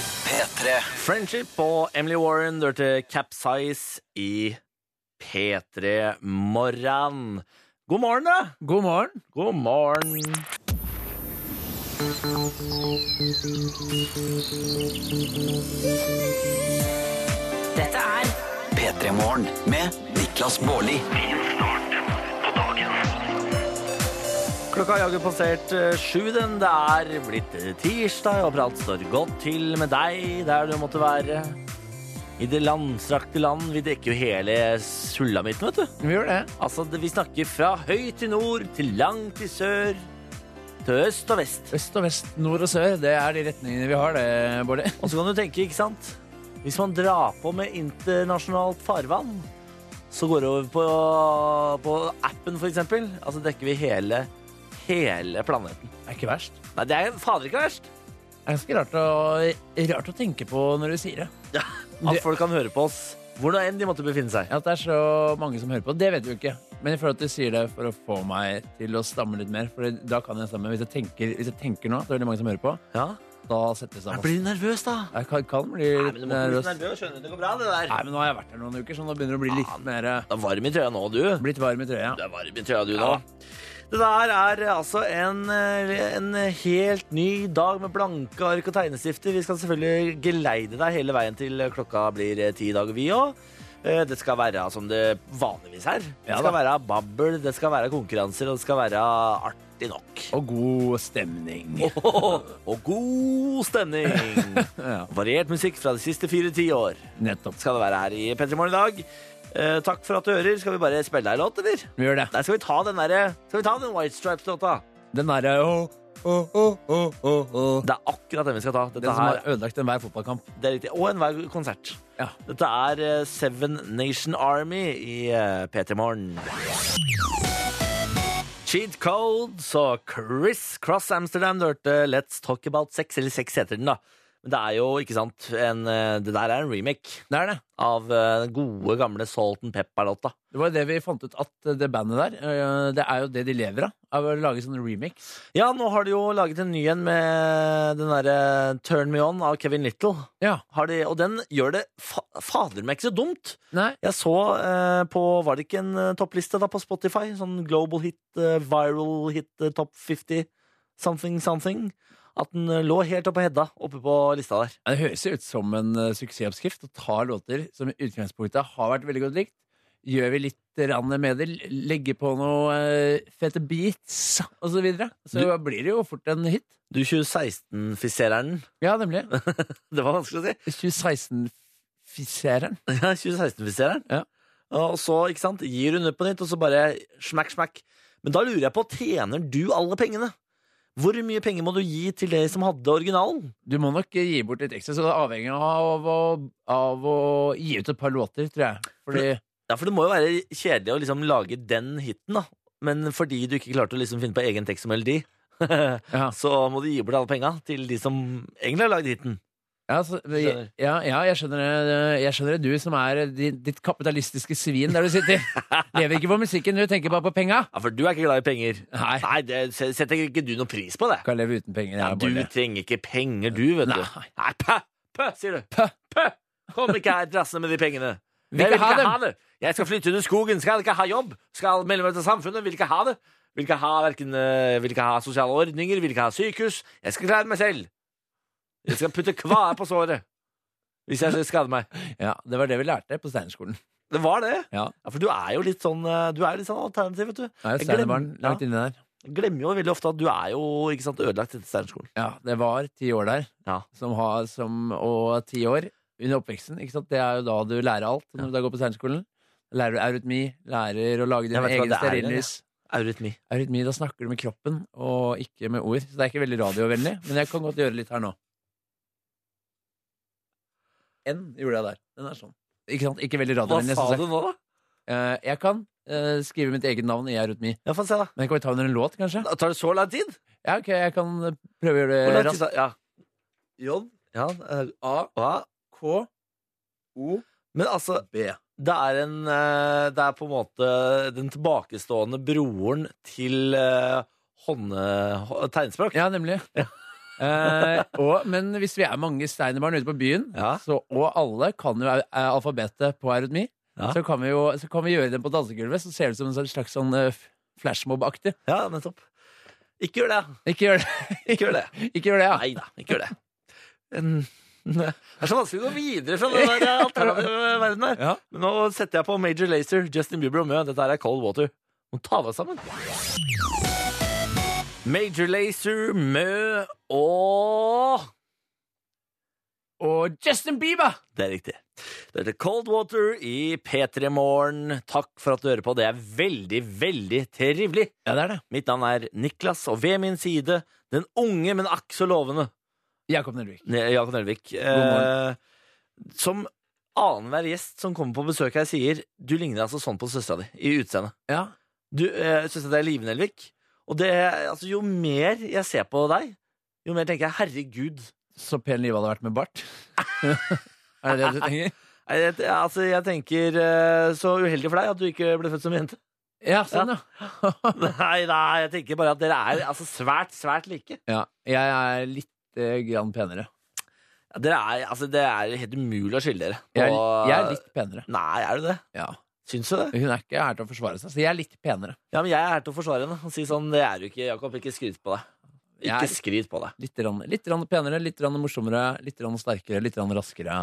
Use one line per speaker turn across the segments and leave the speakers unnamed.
P3.
Friendship og Emily Warren hørte Capsize i P3 Morgen. God morgen, da!
God morgen.
God morgen.
Dette er
P3 Morgen med Niklas Baarli.
Klokka har jaggu passert eh, sju. den. Det er blitt eh, tirsdag, og prat står godt til med deg der du måtte være. I det landstrakte land. Vi dekker jo hele sulamitten, vet du.
Vi gjør det.
Altså, det- Vi snakker fra høyt til nord til langt til sør. Til øst og vest.
Øst og vest, nord og sør. Det er de retningene vi har, det, Bård.
Og så kan du tenke, ikke sant Hvis man drar på med internasjonalt farvann Så går det over på, på appen for eksempel Altså dekker vi hele, hele planeten
Det er ikke verst.
Nei, det er fader ikke verst
Det er ganske rart å, rart å tenke på når du sier det.
At folk kan høre på oss Hvordan enn de måtte befinne seg
At det er så mange som hører på, det vet vi jo ikke. Men jeg føler at du sier det for å få meg til å stamme litt mer. For da kan jeg stamme. Hvis jeg tenker, hvis jeg tenker nå at det er veldig mange som hører på,
Ja
da setter jeg sammen.
Blir du nervøs da?
Jeg kan, kan bli
Nei,
litt
men du må ikke bli
nervøs.
så
Nei,
nervøs Skjønner du, det går bra det der
men nå har jeg vært her noen uker, så nå begynner det å bli litt mer eh,
Det er varm i trøya nå, du
Blitt varm i trøya.
Du er varm i trøya, du nå.
Ja.
Det der er altså en, eh, en helt ny dag med blanke ark og tegnestifter. Vi skal selvfølgelig geleide deg hele veien til klokka blir eh, ti i dag, vi òg. Det skal være som det vanligvis er. Det
Ja
skal
da.
være babbel, det skal være konkurranser, og det skal være artig nok.
Og god stemning.
Og god stemning!
Ja,
Variert musikk fra de siste fire ti år
nettopp.
skal det være her i P3 Morgen i dag. Eh, Takk for at du hører. Skal vi bare spille deg en låt, eller?
Vi gjør det.
Der skal vi ta den derre Skal vi ta den White Stripes-låta?
Den derre åh, åh, åh, åh, åh, åh.
Det er akkurat den vi skal ta. Dette
Den som har
her,
ødelagt enhver fotballkamp.
det er riktig. Og enhver konsert.
Ja.
Dette er eh, Seven Nation Army i eh, P3 Morgen. Cheat Codes og Chris Cross Amsterdam du hørte Let's Talk About Sex, eller Sex heter den, da. Men det er jo, ikke sant, en, eh, det der er en remake
Det er det.
av eh, den gode, gamle Salt and Pepper-låta.
Det var jo det vi fant ut at eh, det bandet der, øh, det er jo det de lever av. Av å lage sånne remix.
Ja, nå har de jo laget en ny en med den derre Turn Me On av Kevin Little.
Ja.
Har de, og den gjør det fa fader meg ikke så dumt.
Nei.
Jeg så eh, på Var det ikke en eh, toppliste da på Spotify? Sånn global hit, eh, viral hit, eh, top 50, something, something. At den eh, lå helt oppe på Hedda, oppe på lista der.
Det høres jo ut som en øh, suksessoppskrift å ta låter som i utgangspunktet har vært veldig godt likt. Gjør vi litt eh, rann med det, legge på noe øh, fete beats og så videre. Så blir det jo fort en hit.
Du 2016-fisereren.
Ja, nemlig.
Det var vanskelig å si.
2016-fisereren.
Ja, 2016-fisereren.
Ja.
Og så, ikke sant, gir hun ut på nytt, og så bare smekk, smekk. Men da lurer jeg på, tjener du alle pengene? Hvor mye penger må du gi til de som hadde originalen?
Du må nok eh, gi bort litt ekstra, så det er avhengig av å, av å gi ut et par låter, tror jeg. Fordi
Ja, for det må jo være kjedelig å liksom lage den hiten, da. Men fordi du ikke klarte å liksom finne på egen tekst og melodi,
Ja,
så må du gi bort alle penga til de som egentlig har lagd hiten.
ja, så, ja,
Skjønner.
ja jeg, skjønner det, jeg skjønner det. Du som er eh, di- ditt kapitalistiske svin der du sitter. Lever ikke på musikken, du tenker bare på penga.
Ja, For du er ikke glad i penger.
Nei.
Nei, det se- setter ikke du noe pris på det.
Kan leve uten penger.
Ja,
Jeg,
du
Bård.
trenger ikke penger, du, vet du.
Nei.
Nei, pø, pø, sier du.
Pø.
Pø! Kom ikke her drassende med de pengene.
Vil ikke ha dem.
det. Jeg skal flytte under skogen, skal ikke ha jobb, skal melde meg til samfunnet, vil ikke ha det. Vil ikke ha, hverken, eh, vil ikke ha sosiale ordninger, vil ikke ha sykehus. Jeg skal klare meg selv. Jeg skal putte kvae på såret hvis jeg skader meg.
Ja, det var det vi lærte på Steinerskolen.
Det var det.
Ja.
for du er jo litt sånn, eh, du er jo litt sånn alternativ, vet du.
Det er jo
Jeg
Steinerbarn
glemmer-
langt
ja.
inni der.
Jeg glemmer jo veldig ofte at du er jo ikke sant, ødelagt etter Steinerskolen.
Ja, det var ti år der,
Ja.
som har, som, og ti år under oppveksten. Ikke sant? Det er jo da du lærer alt når du da går på Steinerskolen. Lærer du eurytmi, lærer å lage
Jeg
dine
vet ikke hva
egne
det er, eller?
stearinlys.
Eurytmi.
Eurytmi, da snakker du med kroppen og ikke med ord. Så det er ikke veldig radiovennlig, men jeg kan godt gjøre litt her nå. N gjorde jeg der. Den er sånn. Ikke sant? Ikke veldig
Hva
radiovennlig.
sa
synes jeg.
du nå, da?
Eh, jeg kan eh, skrive mitt eget navn i eurytmi.
Ja, Få se, da.
Men kan vi ta under en låt, kanskje?
Tar det så lang tid?
Ja, ok, jeg kan eh, prøve å gjøre
Hvor
det
lang tid
raskt.
da? Eh, Ja.
J,
Ja, eh,
A,
hva?
K, O,
Men altså,
B.
det er en eh, Det er på en måte den tilbakestående broren til eh, hånde, hå- tegnspråk.
Ja, nemlig. Eh, og, men hvis vi er mange steinerbarn ute på byen,
Ja.
så, og alle kan jo eh, alfabetet på Eurytmi,
Ja.
så, kan vi jo, så kan vi gjøre det på dansegulvet. Så ser det ut som en sånn slags sånn eh, f- flashmob-aktig.
Ja, nettopp. Ikke gjør det.
Ikke gjør det.
Ikke gjør det.
Ikke gjør det, ja.
Nei da, ikke gjør det. En- Det er så vanskelig å gå videre fra den der eh, alternative verden der.
Ja.
Men nå setter jeg på Major Lazer, Justin Bieber og Mø. Dette her er Cold Water. Må ta deg sammen. Major Lazer, Mø og
Og Justin Bieber!
Det er riktig. Det heter Cold Water i P3 Morgen. Takk for at du hører på. Det er veldig, veldig trivelig.
Ja, det er det.
Mitt navn er Niklas, og ved min side den unge, men akk så lovende
Jakob Nelvik.
Ne- Jakob Nelvik.
morgen.
Eh, som annenhver gjest som kommer på besøk her, sier du ligner altså sånn på søstera di i utseendet.
Ja.
Du, eh, Søstera di er Live Nelvik. Og det, altså, jo mer jeg ser på deg, jo mer tenker jeg herregud.
Så pen livet hadde vært med bart. er det det du tenker?
Nei, det- Altså, jeg tenker eh, så uheldig for deg at du ikke ble født som jente.
Ja, sånn, ja.
Nei, nei, jeg tenker bare at dere er altså, svært, svært like.
ja. Jeg er litt eh, grann penere.
Dere er, altså, det er helt umulig å skylde dere.
Jeg er,
Og-
jeg er litt penere.
Nei, er du det?
Ja.
Syns du det?
Hun er ikke her til å forsvare seg, så jeg er litt penere.
Ja, men jeg er her til å forsvare henne og si sånn, det er du ikke, Jakob. Ikke skryt på deg. Ikke
Jeg-
skryt på deg.
Litt, rann, litt rann penere, litt rann morsommere, litt rann sterkere, litt rann raskere.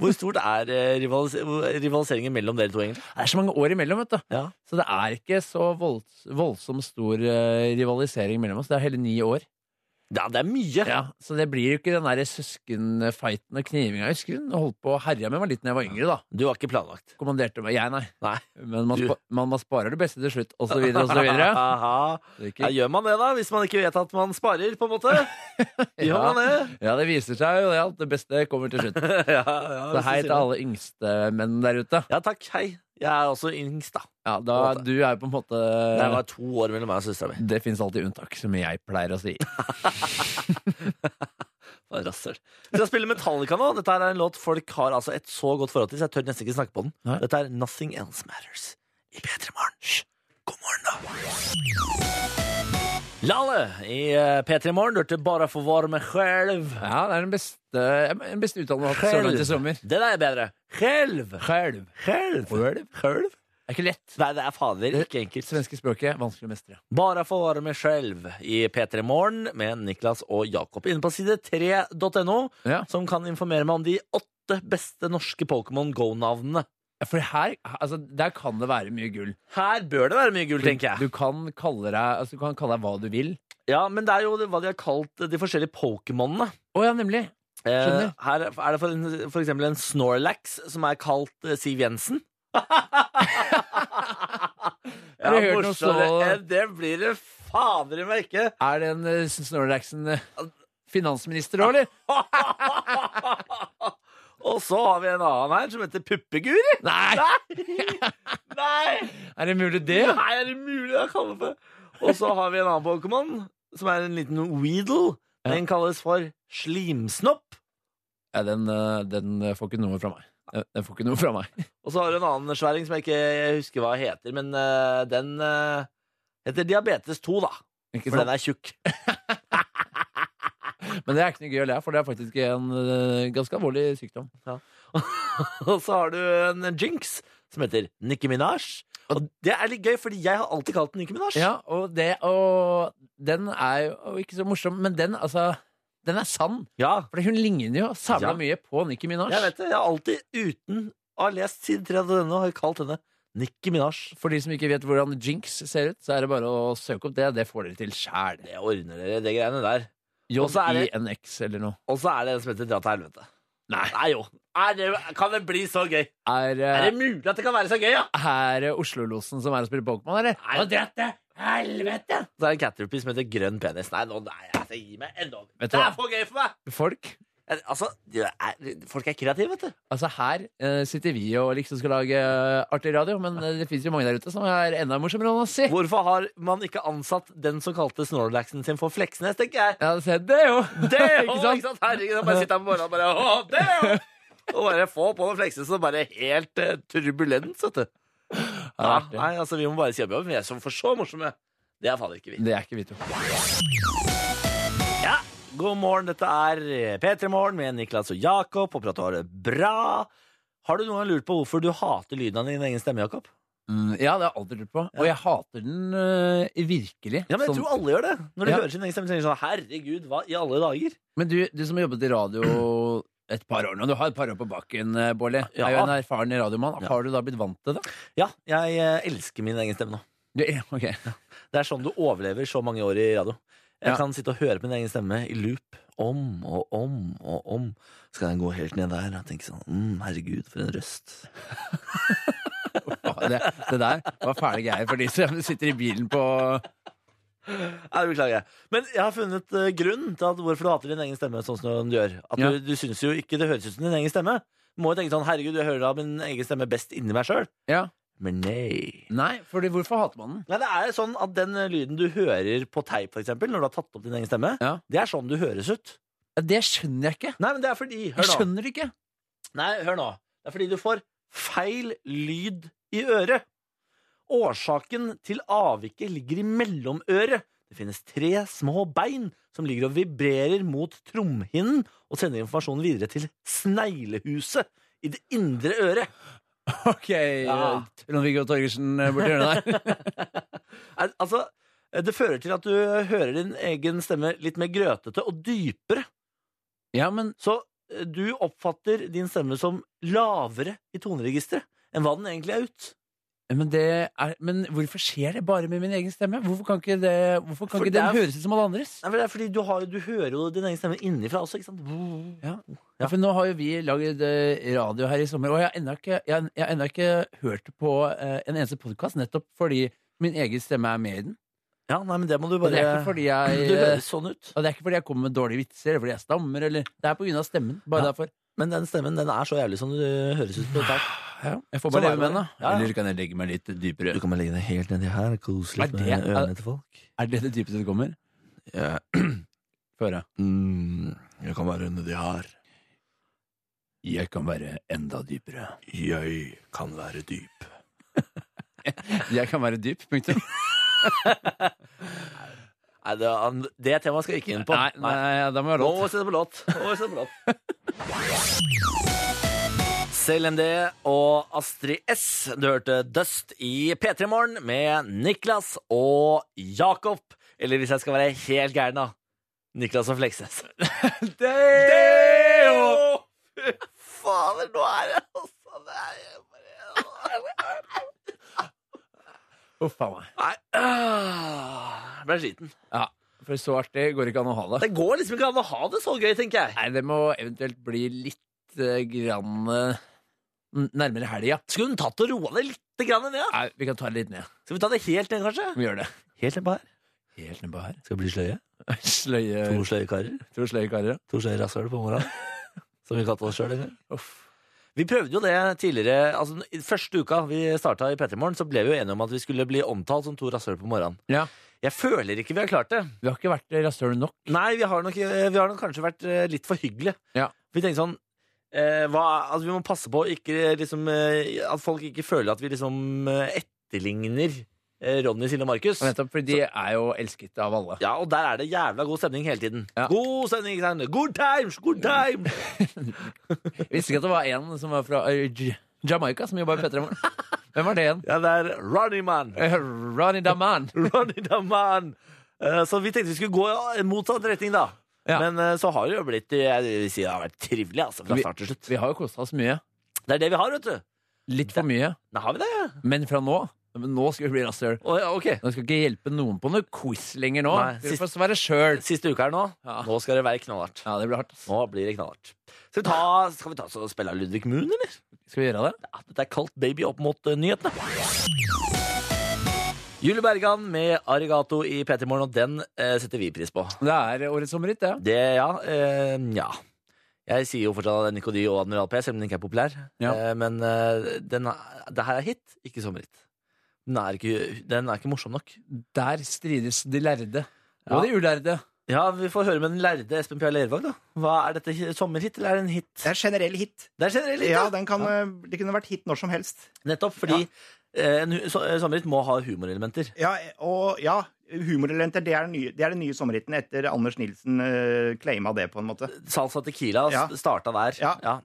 Hvor stort er eh, rivalis rivaliseringen mellom dere to, egentlig?
Det er så mange år imellom, vet du.
Ja.
Så det er ikke så volds voldsomt stor eh, rivalisering mellom oss. Det er hele ni år.
Ja, det er mye.
Ja, så det blir jo ikke den der søskenfighten og knivinga. Jeg husker hun holdt på og herja med meg litt da jeg var yngre, da.
Du har ikke planlagt.
Kommanderte meg. Jeg, nei.
Nei.
Men man,
Du-
spa man, man sparer det beste til slutt, og så videre, og så videre.
Aha. Ja,
Det er ikke,
gjør man det, da? Hvis man ikke vet at man sparer, på en måte? Gjør man det?
ja, det viser seg jo det at det beste kommer til slutt.
ja, ja,
Så
hvis
hei
du sier
til
det.
alle yngste menn der ute.
Ja takk, hei. Jeg er også yngst, da.
Ja, da, du er jo på en måte
Det
Eh.
var to år mellom meg og søstera mi.
Det fins alltid unntak, som jeg pleier å si.
Hva er Rasshøl. Vi skal spille Metallica nå. Dette her er en låt folk har altså et så godt forhold til, så jeg tør nesten ikke snakke på den.
Nei.
Dette er Nothing Else Matters i P3 Morgen. Hysj. God morgen, da. Lale i eh, P3 Morgen. Du hørte bare for varme skjelv.
Ja, det er den beste, den beste uttalen du har hatt så langt i sommer.
Det der er bedre. Skjelv.
Skjelv.
Skjelv. Skjelv.
Det er ikke lett.
Nei, det er fader ikke enkelt.
Svenske språket vanskelig å mestre.
Bare for å være med selv i P3 Morgen med Niklas og Jakob inne på side 3.no,
Ja.
som kan informere meg om de åtte beste norske Pokémon Go-navnene.
For her, altså, der kan det være mye gull.
Her bør det være mye gull, tenker
Du
jeg.
kan kalle deg, altså, du kan kalle deg hva du vil.
Ja, Men det er jo hva de har kalt de forskjellige Pokémonene.
Å ja, nemlig.
Eh,
Skjønner.
her er det for, en, for eksempel en Snorlax som er kalt eh, Siv Jensen.
Har du hørt noe så-
enn Eh, Det blir det fader i meg ikke!
Er det en eh, Snorlaxen eh, finansminister òg, eller?
Og så har vi en annen her som heter Puppeguri.
Nei!
Nei! Nei!
Er det mulig det?
Nei, er det mulig å kalle det Og så har vi en annen Pokémon, som er en liten Weedle. Den kalles for slimsnopp.
Ja, den, eh, den eh, får ikke noe fra meg. Den- Den får ikke noe fra meg.
Og så har du en annen sværing som jeg ikke husker hva heter, men eh, den eh, heter Diabetes 2, da.
Ikke
For
sant?
den er tjukk.
Men det er ikke noe gøy å le av, for det er faktisk en eh, ganske alvorlig sykdom.
Og så har du en jinx som heter Nikki Minaj. Og det er litt gøy, fordi jeg har alltid kalt den Nikki Minaj.
Ja, og, det, og den er jo ikke så morsom, men den, altså, den er sann.
ja.
For hun ligner jo sabla
Ja.
mye på Nicki Minaj.
Jeg vet det. Jeg har alltid, uten å ha lest siden 30 denne, har jeg kalt henne Nikki Minaj.
For de som ikke vet hvordan Jinx ser ut, så er det bare å søke opp det. Det får dere til sjæl.
Det ordner dere, det greiene der. Og så er det-
JINX eller noe.
Og så er det en som heter Dra til helvete.
Nei.
Nei jo. Er det, kan det bli så gøy?
Er, eh,
Er det mulig at det kan være så gøy, ja?
er eh, Oslo-losen som er og spiller Pokémon, eller?
Og dra til helvete! Så er det en caterpie som heter Grønn penis. Nei, nå, nei, jeg skal gi meg enda mer.
Vet du
Det
hva?
er for gøy for meg!
Folk?
Jeg- Altså, det er, folk er kreative, vet du.
Altså, her eh, sitter vi og liksom skal lage eh, artig radio, men eh, det fins jo mange der ute som er enda morsommere enn oss, si.
Hvorfor har man ikke ansatt den som kalte Snorlaxen sin for Fleksnes, tenker jeg.
Ja, se, det er jo
Det,
Ikke
ikke
sant?
sant? Herregud, jeg bare sitter her på morgenen og bare Å, det, ja! Og bare få på noen flekser som bare er helt eh, turbulens, vet du. Ja,
Ja, det er artig.
nei, altså, vi må bare si opp jobben. Vi er så for så morsomme. Det er fader ikke vi.
Det er ikke vi to.
Ja, God morgen, dette er eh, P3 Morgen med Niklas og Jakob. Og prater har det bra. Har du noen gang lurt på hvorfor du hater lyden av din egen stemme, Jakob?
Mm, ja, det har jeg aldri lurt på. Og jeg hater den øh, virkelig.
Ja, men jeg
Sånn-
tror alle gjør det. Når de
Ja.
hører sin egen stemme, tenker de sånn Herregud, hva i alle dager?
Men du, du som har jobbet i radio et par år nå, du har et par år på bakken, eh, Bårli.
Ja.
Er jo en erfaren radiomann.
Ja.
Har du da blitt vant til det?
Ja, jeg eh, elsker min egen stemme nå.
Du, ja, ok.
Det er sånn du overlever så mange år i radio. Jeg
Ja.
kan sitte og høre på min egen stemme i loop om og om og om. Så kan jeg gå helt ned der og tenke sånn mm, Herregud, for en røst.
Ja, Det, det der var fæle greier for de som sitter i bilen på
Nei, Beklager. Men jeg har funnet eh, grunnen til at hvorfor du hater din egen stemme sånn som du gjør. At
Ja.
du, du syns jo ikke det høres ut som din egen stemme. Du må jo tenke sånn Herregud, jeg hører da min egen stemme best inni meg sjøl.
Ja.
Men nei.
Nei, fordi hvorfor hater man den?
Nei, det er sånn at Den eh, lyden du hører på teip, for eksempel, når du har tatt opp din egen stemme,
Ja.
det er sånn du høres ut.
Ja, Det skjønner jeg ikke.
Nei, men det er fordi
Jeg
Hør nå.
skjønner det ikke.
Nei, hør nå. Det er fordi du får feil lyd i øret. Årsaken til avviket ligger i mellomøret. Det finnes tre små bein som ligger og vibrerer mot tromhinnen og sender informasjonen videre til sneglehuset i det indre øret.
Ok,
Ja.
eh, Trond-Viggo Torgersen eh, borti hjørnet der.
Al- Altså, det fører til at du hører din egen stemme litt mer grøtete og dypere.
Ja, men
Så eh, du oppfatter din stemme som lavere i toneregisteret enn hva den egentlig er ut.
Men, det er, men hvorfor skjer det bare med min egen stemme? Hvorfor kan ikke, det, hvorfor kan
For
ikke
det
den
er-
høres ut som alle andres?
Nei, for det er fordi du, har, du hører jo din egen stemme innenfra også, ikke sant?
Ja.
Ja.
Ja, for nå har jo vi lagd eh, radio her i sommer, og jeg har ennå ikke, jeg, jeg har ennå ikke hørt på eh, en eneste podkast nettopp fordi min egen stemme er med i den.
Ja, nei, men det må du
Og
bare
det er ikke fordi
Du
jeg eh,
høres sånn ut.
og det er ikke fordi jeg kommer med dårlige vitser, eller fordi jeg stammer, eller Det er på grunn av stemmen. Bare
Ja.
derfor.
Men den stemmen den er så jævlig som du høres ut på et tak.
Jeg får
Sånn
bare
er det
leve med den, da.
bare. Ja, ja.
Eller kan jeg legge meg litt dypere?
Du kan bare legge deg helt nedi her, kose
Er
litt
det-
med ørene til folk.
Er det det dypeste du kommer?
Ja.
Få høre.
Mm, jeg kan være nedi her.
Jeg kan være enda dypere.
Jeg kan være dyp.
Jeg kan være dyp, punktum.
Nei, det, han- det temaet skal jeg ikke inn på.
Nei, nei, da må jeg ha
Nå
lov.
må vi sette på låt. Nå må vi sette på låt. Selv MD og Astrid S. Du hørte Dust i P3 Morgen med Niklas og Jakob. Eller hvis jeg skal være helt gæren, da. Niklas og Fleksnes. Deo! Fy fader, nå er det altså det er bare...
Å, faen meg.
Nei. ah, Jeg ble sliten.
Ja, for så artig går det ikke an å ha det.
Det går liksom ikke an å ha det så gøy, tenker jeg.
Nei, det må eventuelt bli litt eh, grann eh, n- nærmere helga.
Skulle hun tatt og roa det litt grann ned? da?
Nei, vi kan ta det litt ned.
Skal vi ta det helt ned, kanskje?
Vi gjør det.
Helt ned på her.
Helt nedpå her.
Skal bli sløye.
Sløye
To sløye karer.
To sløye karer.
To sløye rasshøl på morgenen. Som vi kalte oss sjøl.
Uff.
Vi prøvde jo det tidligere. altså i Første uka vi starta i P3 Morgen, så ble vi jo enige om at vi skulle bli omtalt som to rasshøl på morgenen.
Ja.
Jeg føler ikke vi har klart det.
Vi har ikke vært rasshøl nok.
Nei, vi har nok, vi har nok kanskje vært eh, litt for hyggelige.
Ja.
Vi tenkte sånn eh, hva, altså Vi må passe på å ikke, liksom, eh, at folk ikke føler at vi liksom eh, etterligner eh, Ronny, Silje og Markus.
Og nettopp, for de er jo elsket av alle.
Ja, og der er det jævla god stemning hele tiden.
Ja.
God stemning, ikke sant? Good times, good times!
Jeg visste ikke at det var en som var fra eh, J- Jamaica, som jobba i P3 Morgen. Hvem var det igjen?
Ja, det er Ronny Man.
Eh, Ronny Daman.
Ronny the Man. Eh, Så vi tenkte vi skulle gå i motsatt retning, da.
Ja.
Men eh, så har det jo blitt eh, Jeg vil si det har vært trivelig altså, fra
Vi-
start til slutt.
Vi har jo kosta oss mye.
Det er det vi har, vet du.
Litt for mye.
Nei, har vi det?
Men fra nå Nå skal vi bli rasshøl.
Å, ja, ok.
Nå skal ikke hjelpe noen på noe quiz lenger nå.
Nei,
Vi
sist-
får svare sjøl.
Siste uke her nå.
Ja.
Nå skal det være knallhardt.
Ja, det blir hardt. ass.
Nå blir det knallhardt. Skal vi ta, skal vi ta oss og spille av Ludvig Moon, eller?
Skal vi gjøre det?
Ja, dette er Kaldt baby opp mot eh, nyhetene. Julie Bergan med Arigato i P3 Morgen, og den eh, setter vi pris på.
Det er årets sommerhit, det.
Det, ja. Eh, ja. Jeg sier jo fortsatt Nico Dy og Admiral P, selv om den ikke er populær.
Ja.
Eh, men eh, den er, det her er hit, ikke sommerhit. Den er ikke, den er ikke morsom nok.
Der strides de lærde.
Ja.
Og de ulærde.
Ja, Vi får høre med den lærde Espen Pia Lervåg, da. Hva Er dette hi- sommerhit, eller er det en hit?
Det er generell hit.
Det er generelt hit,
Ja,
ja.
den kan, eh, Det kunne vært hit når som helst.
Nettopp fordi eh, en hu- så- eh, sommerhit må ha humorelementer.
Ja, og ja, humorelenter, det er den nye, det er den nye sommerhiten etter Anders Nilsen uh, claima det, på en måte.
Salsa Tequila
Ja.
s- starta der.
Ja.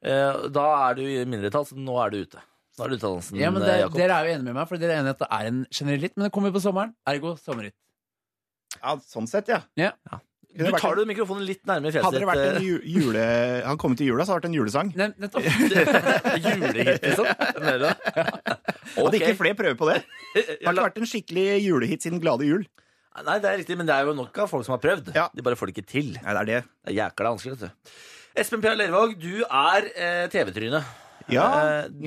Eh, Da er du i mindretall, så nå er du ute. Nå er du ute av dansen,
Ja, men
eh,
det,
Jakob.
Dere er jo enige med meg, for dere er enige at det er en generell hit. Men det kommer på sommeren. Ergo sommerhit.
Ja, sånn sett, ja.
Ja.
Kunne
Du
vært
tar
en-
du mikrofonen litt nærmere fjeset
hadde det vært en
ditt.
ju- jule... Han kommet til jula, så hadde det vært en julesang.
Nei, nettopp.
eh, Julehit, liksom. Mener du det?
Hadde
Ok.
ikke flere prøver på det. Det har ikke vært en skikkelig julehit siden Glade jul.
Nei, det er riktig, men det er jo nok av folk som har prøvd.
Ja.
De bare får det ikke til.
Nei, det er det.
Det er jækla vanskelig, vet du. Espen P. Lervåg, du er eh, TV-tryne.
Ja.
Eh, du,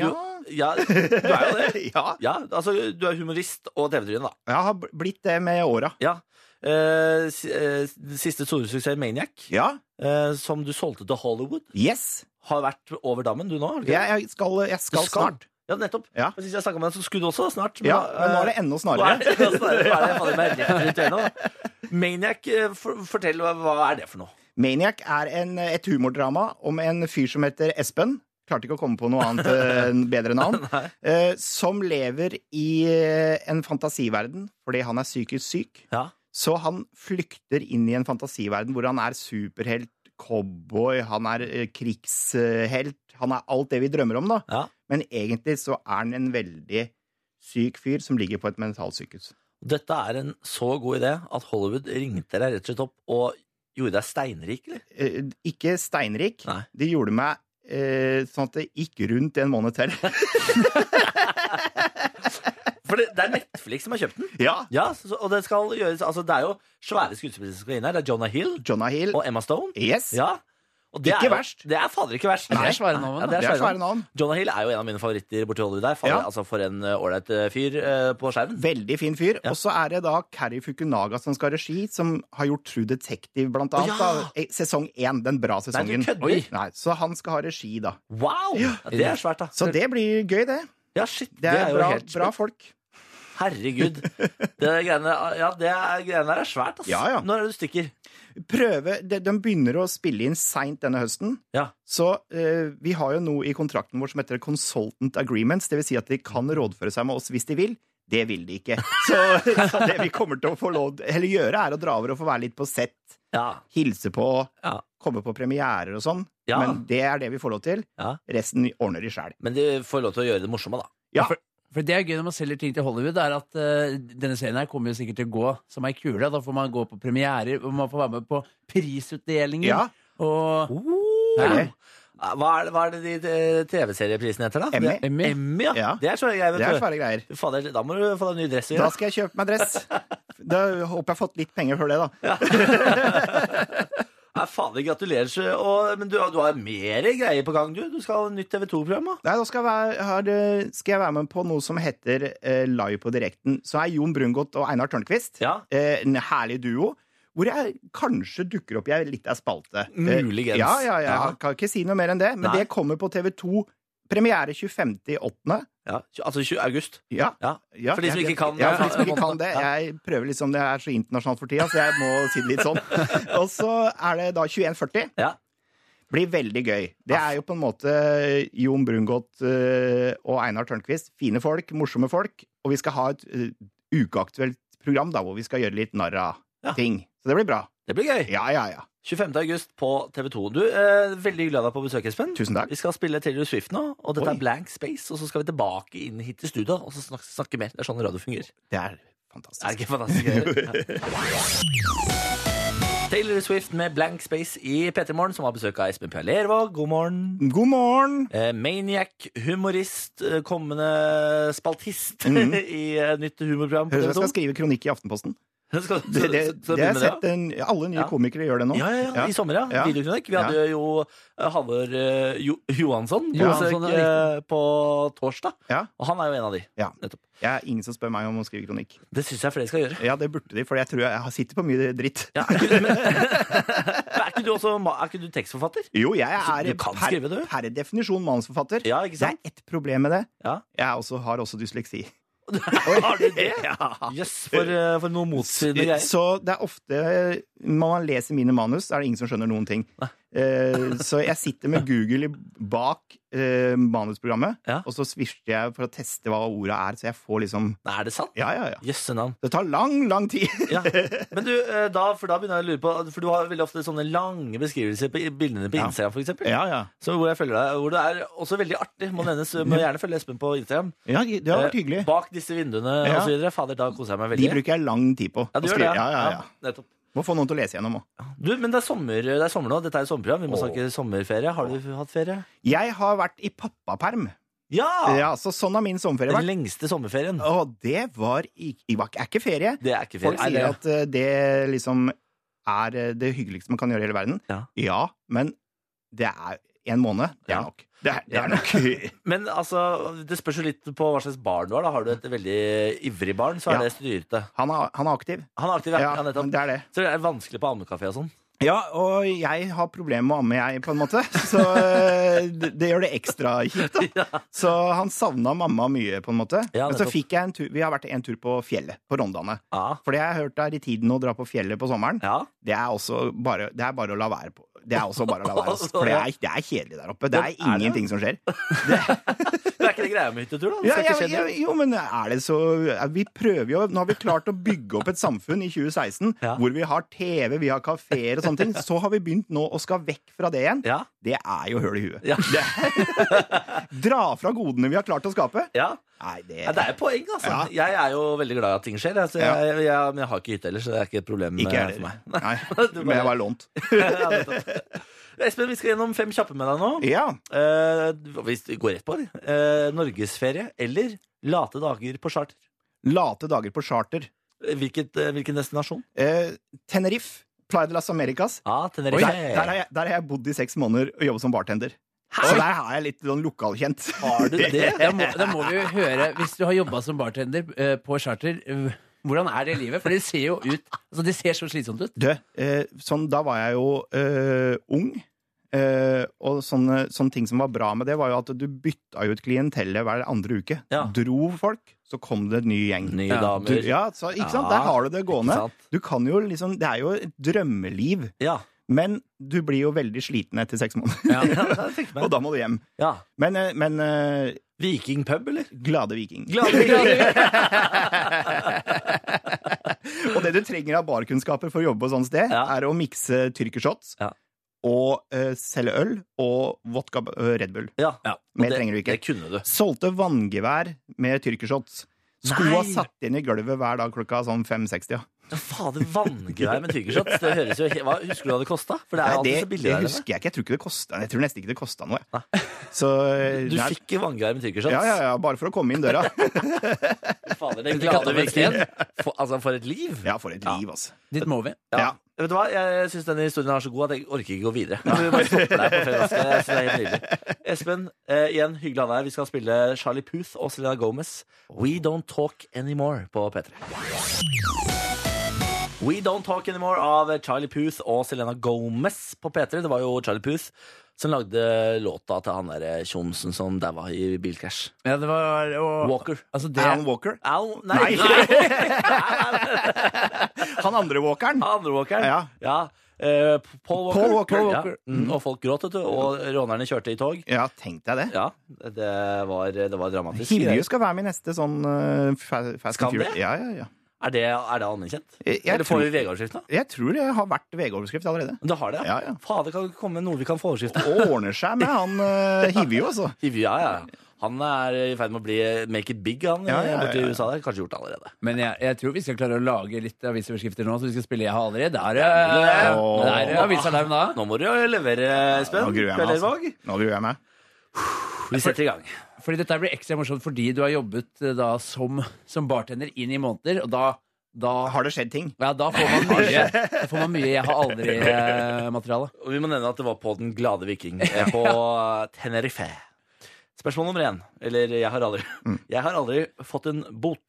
ja.
ja. Du er jo det.
ja.
Ja, altså, du er humorist og TV-tryne, da.
Jeg har bl- blitt det med åra.
Ja. Eh, si- eh, siste store suksess, Maniac,
Ja.
eh, som du solgte til Hollywood,
Yes.
har vært over dammen, du nå? har du ikke det?
Jeg, jeg, skal, jeg
Du
skal snart.
Ja, nettopp.
Ja.
Og Sist jeg snakka med deg, så skulle du også snart.
Ja, men nå er det enda
Nå
snarere.
er det- nå er det fader meg rett rundt hjørnet, da. Maniac, eh, for, fortell, hva, hva er det for noe?
Maniac er en, et humordrama om en fyr som heter Espen. Klarte ikke å komme på noe annet eh, enn bedre navn. Eh, som lever i eh, en fantasiverden fordi han er psykisk syk.
Ja.
Så han flykter inn i en fantasiverden hvor han er superhelt, cowboy, han er eh, krigshelt. Han er alt det vi drømmer om, da.
Ja.
Men egentlig så er han en veldig syk fyr som ligger på et mentalsykehus.
Dette er en så god idé at Hollywood ringte deg rett og slett opp og gjorde deg steinrik, eller?
Eh, ikke steinrik.
Nei.
De gjorde meg eh, sånn at det gikk rundt en måned til.
For det, det er Netflix som har kjøpt den.
ja.
Ja, så, og det skal gjøres Altså, det er jo svære skuespillere som skal inn her. Det er Jonah Hill
Jonah Hill.
og Emma Stone.
Yes.
Ja. Og det er
Ikke
jo-
verst.
Det er fader ikke verst.
Det er svære navn,
Ja,
da.
det er svære navn.
navn.
Jonah Hill er jo en av mine favoritter borti Hollywood der. Fader,
Ja.
altså For en eh, ålreit eh, fyr eh, på skjermen.
Veldig fin fyr.
Ja.
Og så er det da Kari Fukunaga som skal ha regi, som har gjort True Detective, blant
Å,
annet.
ja!
da. Eh, Sesong én, den bra sesongen.
kødder.
Oi. Nei, så han skal ha regi, da.
Wow! Ja, det er svært, da.
Så det blir gøy, det.
ja, shit,
Det er,
jo
bra,
helt
bra folk.
Herregud. Det greiene, ja, det er- greiene der er svært, ass.
Ja, ja.
Når er det du stikker?
Prøve, de, de begynner å spille inn seint denne høsten.
Ja.
Så eh, vi har jo noe i kontrakten vår som heter consultant agreements. Det vil si at de kan rådføre seg med oss hvis de vil. Det vil de ikke. Så, så det vi kommer til å få lov, eller gjøre, er å dra over og få være litt på sett.
Ja.
hilse på,
Ja.
komme på premierer og sånn.
Ja.
Men det er det vi får lov til.
Ja.
Resten ordner de sjæl.
Men de får lov til å gjøre det morsomme, da.
Ja.
For det er gøy når man selger ting til Hollywood, er at eh, denne serien her kommer jo sikkert til å gå som ei kule. Da får man gå på premierer, og man får være med på prisutdelinger.
Ja.
Og
Oh,
Herlig.
Hva er det, hva er det de eh, TV-serieprisene heter, da?
Emmy.
Det-
Emmy.
Emmy ja.
Ja.
Det er svære greier.
Det er
vet du.
svære greier.
Fader, da må du få deg en ny dress. å
Da
gjøre.
skal jeg kjøpe meg dress. Da håper jeg har fått litt penger for det, da.
Nei, fader, gratulerer. så- Og, men du, du har mer greier på gang, du. Du skal ha nytt TV 2-program.
Nei, da skal jeg, være, her, eh, skal jeg være med på noe som heter eh, Live på direkten. Så er Jon Brungot og Einar Tørnquist
Ja.
eh, en herlig duo. Hvor jeg kanskje dukker opp i ei lita spalte. Eh,
Muligens.
Ja, ja, ja,
Ja.
jeg kan ikke si noe mer enn det. Men
Nei.
det kommer på TV2. Premiere 25.8.
Ja, tj- altså 20. august.
Ja.
Ja.
Ja,
For de som
jeg-
ikke kan-
ja, for de som ikke kan det. Jeg prøver liksom, det er så internasjonalt for tida, så jeg må si det litt sånn. Og så er det da 2140.
Ja.
Blir veldig gøy. Det er jo på en måte Jon Brungot eh, og Einar Tørnquist. Fine folk, morsomme folk. Og vi skal ha et eh, ukeaktuelt program da, hvor vi skal gjøre litt narr av
Ja.
ting. Så det blir bra.
Det blir gøy.
Ja, ja, ja.
25. august på TV 2. Du, eh, Veldig hyggelig å ha deg på besøk, Espen.
Tusen takk.
Vi skal spille Taylor Swift nå, og dette
Oi.
er Blank Space. Og så skal vi tilbake inn hit til studio og så snakke, snakke mer. Det er sånn radio fungerer.
Det
Er
er
det
fantastisk.
ikke fantastisk? Ja. Taylor Swift med Blank Space i P3 Morgen, som har besøk av Espen P. Lervåg. God morgen.
God morgen!
Eh, Maniac, humorist, eh, kommende spaltist i eh, nytt humorprogram på
Mhm. Høres ut
TV2.
som jeg skal skrive kronikk i Aftenposten.
Skal, skal- skal
Det, det, det har
du
jeg
begynne
sett en, Alle nye
Ja.
komikere gjør det nå.
Ja, ja, ja, i sommer, ja.
Ja.
Videokronikk. Vi hadde jo eh, Halvor eh, jo, Johansson på
Johansson,
besøk
ja,
eh, på torsdag,
Ja.
og han er jo en av de.
Ja.
Nettopp.
Jeg er ingen som spør meg om å skrive kronikk.
Det syns jeg flere skal gjøre.
Ja, det burde de, for jeg tror jeg har- sitter på mye dritt.
Ja, er, ikke, men, er, ikke du også, ma- er ikke du tekstforfatter?
Jo, jeg er
Du kan
per,
skrive, du.
per definisjon manusforfatter.
Ja, ikke sant?
Det er ett problem med det.
Ja.
Jeg er også, har også dysleksi.
Har du det? Jøss, for, eh, for noe motstridende greier.
Så det er ofte Når man leser mine manus, er det ingen som skjønner noen ting. Eh, Så jeg sitter med Google i- bak eh, eh, manusprogrammet,
Ja.
og så svisjer jeg for å teste hva orda er, så jeg får liksom
Nei, er det sant?
Ja, ja, ja.
Jøsse navn.
Det tar lang, lang tid.
Ja. Men du, eh, da, for da begynner jeg å lure på For du har veldig ofte sånne lange beskrivelser på i- bildene på
Ja.
Instagram, for eksempel.
Ja, ja.
Så hvor jeg følger deg, hvor det er også veldig artig, må nevnes. Må gjerne følge Espen på Instagram.
ja det har vært
Eh,
hyggelig.
Bak disse vinduene
Ja.
og så videre. Fader, da koser jeg meg veldig.
De bruker jeg lang tid på.
ja, du
å
gjør det.
skrive. Ja, ja, ja.
nettopp.
Må få noen til å lese gjennom òg.
Du, men det er, sommer, det er sommer nå. Dette er jo sommerprogram. Vi må snakke sommerferie. Har du hatt ferie?
Jeg har vært i pappaperm.
Ja!
Ja, så sånn har min sommerferie
Den
vært.
lengste sommerferien.
Og det var i- i- var- er ikke ferie.
Det er ikke ferie.
Folk
Er
sier
det-
at eh, det liksom er eh, det hyggeligste man kan gjøre i hele verden.
Ja.
men det er en måned. Det
Ja.
er nok. Det er, det
Ja.
er nok.
Men altså, det spørs jo litt på hva slags barn du har. da Har du et veldig ivrig barn, så er
Ja.
det styrete.
Han er, han er aktiv.
Han er aktiv, ja.
Ja,
ja, nettopp.
det er det.
Så det er vanskelig på ammekafé og sånn.
Ja, og jeg har problemer med å amme, jeg, på en måte. Så eh, det, det gjør det ekstra kjipt. da. Så han savna mamma mye, på en måte.
Ja,
Men så
nettopp.
fikk jeg en tur Vi har vært en tur på fjellet, på Rondane.
Ja.
For det jeg har hørt er i tiden å dra på fjellet på sommeren,
ja.
det er også bare, det er bare å la være på. Det er også bare å la være. ass. For det er, det er kjedelig der oppe. Det
Men er
er
det?
ingenting som skjer.
Det er ikke det greia med hyttetur, da. Det
Ja,
skal ikke
ja,
skje
ja,
det.
jo, men er det så Vi prøver jo Nå har vi klart å bygge opp et samfunn i 2016
Ja.
hvor vi har TV, vi har kafeer og sånne ting. Så har vi begynt nå og skal vekk fra det igjen.
Ja.
Det er jo høl i huet.
Ja.
Dra fra godene vi har klart å skape.
Ja.
Nei, det
ja, det er et poeng, altså.
Ja.
Jeg er jo veldig glad i at ting skjer, jeg, så
Ja.
jeg, jeg, men jeg har ikke hytte heller, så det er ikke et problem
Ikke
eh,
jeg
for meg.
heller. Nei,
Du
men
bare-
jeg var lånt.
Ja, nettopp. Espen, vi skal gjennom fem kjappe med deg nå.
Ja.
Eh, hvis vi går rett på det. Eh, Norgesferie eller late dager på charter?
Late dager på charter.
Hvilket, eh, hvilken destinasjon?
Eh, Tenerife. Playa de las Americas.
Ah,
Der,
Tenerife.
der, har jeg, der har jeg bodd i seks måneder og jobbet som bartender. Så der har jeg litt sånn lokalkjent.
Har du det?
Da må, da må vi jo høre, hvis du har jobba som bartender eh, på charter, eh, hvordan er det livet? For det ser jo ut altså Det ser så slitsomt ut.
Du, eh, sånn, da var jeg jo eh, ung. Eh, og sånne, sånne ting som var bra med det, var jo at du bytta ut klientellet hver andre uke.
Ja.
Dro folk, så kom det en ny gjeng.
Nye
Ja,
Du,
damer.
ja, så, ikke sant?
Ja,
Der har du det gående.
ikke sant?
Du kan jo liksom, det er jo et drømmeliv,
Ja.
men du blir jo veldig sliten etter seks måneder.
Ja, det tenker jeg meg.
og da må du hjem.
ja.
Men, eh, men eh,
Vikingpub, eller?
glade viking.
Glade
Og det du trenger av barkunnskaper for å jobbe på sånt sted,
Ja.
er å mikse tyrkershots
Ja.
og eh, selge øl og vodka eh, Red Bull.
ja.
Ja,
mer
Og det-
trenger du ikke.
Det kunne du.
Solgte vanngevær med tyrkershots. Skoa
Nei!
satt inn i gulvet hver dag klokka sånn 5.60. Ja.
Ja, Fader, vanngreier med tyggershots. Det høres jo he- Hva husker du hva det kosta? For det er
Nei,
jo alltid
det,
så billig
det
der. nede.
husker jeg ikke. Jeg tror, ikke det kostet, jeg tror nesten ikke det kosta noe. jeg. Så
Du
nei,
fikk vanngreier med tyggershots.
ja, ja, ja, bare for å komme inn døra.
Fader, det
Vi kaller
glade
det et
virkelig.
sted.
For, altså, for et liv.
Ja, for et liv, altså.
Dit må vi.
Ja.
Ja.
Vet du hva? Jeg syns denne historien er så god at jeg orker ikke gå videre. Vi bare stopper der på fredagsdag. Jeg synes det er helt nydelig. Espen, eh, igjen hyggelig å ha deg her. Vi skal spille Charlie Puth og Selena Gomez. We Don't Talk Anymore på P3. We Don't Talk Anymore av Charlie Puth og Selena Gomez på P3. Det var jo Charlie Puth som lagde låta til han derre tjomsen som daua i bilkrasj.
Ja, det var og,
Walker.
Altså, det
Alan Walker.
Au, nei!
Nei.
nei.
Han andre walkeren.
Andre walkeren.
Ja.
Eh, Paul Walker.
Paul Walker,
Ja. Mm, og folk gråt, vet du. Og rånerne kjørte i tog.
Ja, tenk deg det.
Ja, det var, det var dramatisk.
Himmerud skal være med i neste sånn uh, Fast and
Skal han
Furious.
det?
Ja, ja, ja.
Er det, er det allmennkjent?
Jeg- jeg
Eller får
tror-
vi VG-overskrift nå?
Jeg tror det har vært VG-overskrift allerede.
Du har det,
Ja, ja.
Fader, kan det komme noe vi kan få overskrift
Og ordner seg med han uh, hiver jo, altså.
Hiv- Ja, ja. Han er i ferd med å bli make it big, han
Ja, ja, ja,
borti
ja.
USA. der. Kanskje gjort det allerede.
Men jeg, jeg tror vi skal klare å lage litt avisoverskrifter nå, så vi skal spille Jeg har allerede. Der,
Åh.
eh, der er avisalarm da.
Nå må du jo levere, Espen.
Nå gruer jeg meg. Altså.
Pellervåg.
Nå gruer jeg meg.
Vi setter i gang.
Fordi dette blir ekstra morsomt fordi du har jobbet eh, da som, som bartender inn i måneder, og da, da,
Har det skjedd ting?
ja, da får man mye Da får man mye Jeg har eh, aldri-materiale.
Og vi må nevne at det var på Den glade viking eh, på Tenerife. Spørsmål nummer én. Eller jeg har aldri
Mm.
Jeg har aldri fått en bot.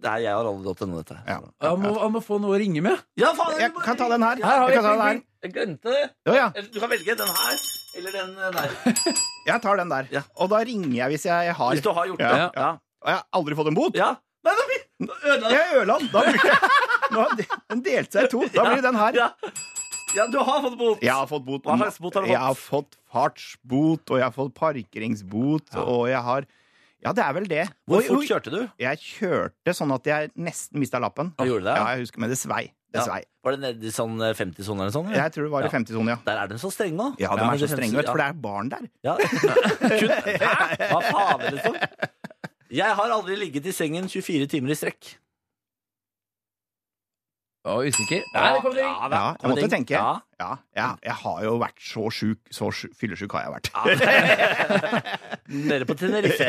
Det er jeg har aldri fått denne, dette.
Ja.
Han må, han må få noe å ringe med.
Ja, faen,
Jeg kan ta den her.
Her har vi
Jeg kan ta den her.
Jeg glemte det.
Jo, ja.
Du kan velge den her eller den eh, der.
Jeg tar den
Ja.
der. Og da ringer jeg hvis jeg har
Hvis du har gjort det.
Ja,
Ja.
Og jeg har aldri fått en bot.
ja. Nei, da blir- da ødela jeg.
Jeg er Ørland! Da bruker jeg Nå har de- Den delte seg i to. Da blir det den her.
Ja. Ja, du har fått bot!
Jeg har fått bot.
Hva slags bot har du fått?
Jeg har fått fartsbot, og jeg har fått parkeringsbot, og jeg har Ja, det er vel det.
Hvor
Oi, oi.
fort kjørte du?
Jeg kjørte sånn at jeg nesten mista lappen.
Ja, gjorde du det?
Ja, jeg husker, men det svei. Det
Ja.
svei.
Var det nede i sånn 50-sone eller sånn? eller?
Jeg tror det var
Ja.
i 50-sonen, ja.
Der er de så strenge nå.
Ja, de er så
det
strenge,
synes-
vet du, for det er barn der.
Ja. Kun, hæ? Hva faen, liksom? Jeg har aldri ligget i sengen 24 timer i strekk.
Å, usikker. Nei, det kom det inn.
det
Ja, jeg
kom
måtte
ting.
tenke.
Ja.
Ja, jeg, jeg har jo vært så sjuk. Så sjuk, fyllesyk har jeg vært.
Nede på Tenerife.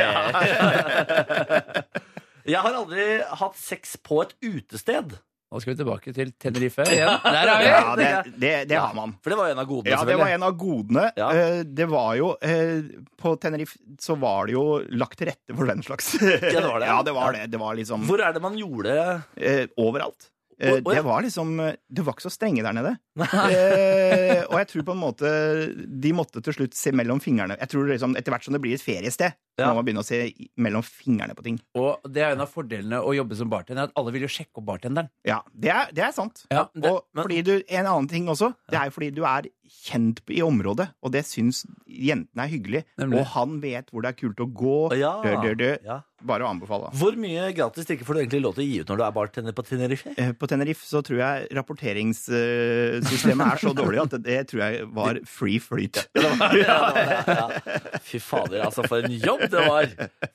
Jeg har aldri hatt sex på et utested.
Nå skal vi tilbake til Tenerife igjen. Der er vi!
Ja, det, det, det har man.
For det var jo en av godene,
Ja, det var en av godene.
Ja.
Eh, Det var jo eh, På Tenerife så var det jo lagt til rette for den slags.
det var det.
Ja, det var det. Det var liksom
Hvor er det man gjorde
eh, overalt. Eh,
Å, å, ja.
Det var liksom eh, Det var ikke så strenge der nede. Eh, og jeg tror på en måte de måtte til slutt se mellom fingrene. Jeg tror liksom Etter hvert som det blir et feriested, så
Ja.
må man begynne å se i- mellom fingrene på ting.
Og det er en av fordelene å jobbe som bartender, at alle vil jo sjekke opp bartenderen.
Ja, det er, det er sant.
Ja, det-
og
men-
fordi du, en annen ting også, det er jo fordi du er kjent i området, og det syns jentene er hyggelig.
Nemlig.
Og han vet hvor det er kult å gå.
Å, ja.
Dør, dør, dør.
Ja.
Bare å anbefale. da.
Hvor mye gratis drikke får du egentlig lov til å gi ut når du er bartender på Tenerife?
Eh, På Tenerife så tror jeg rapporteringssystemet eh, er så dårlig at det, det tror jeg var free flyt.
Ja, det var det, ja. Fy fader, altså, for en jobb det var!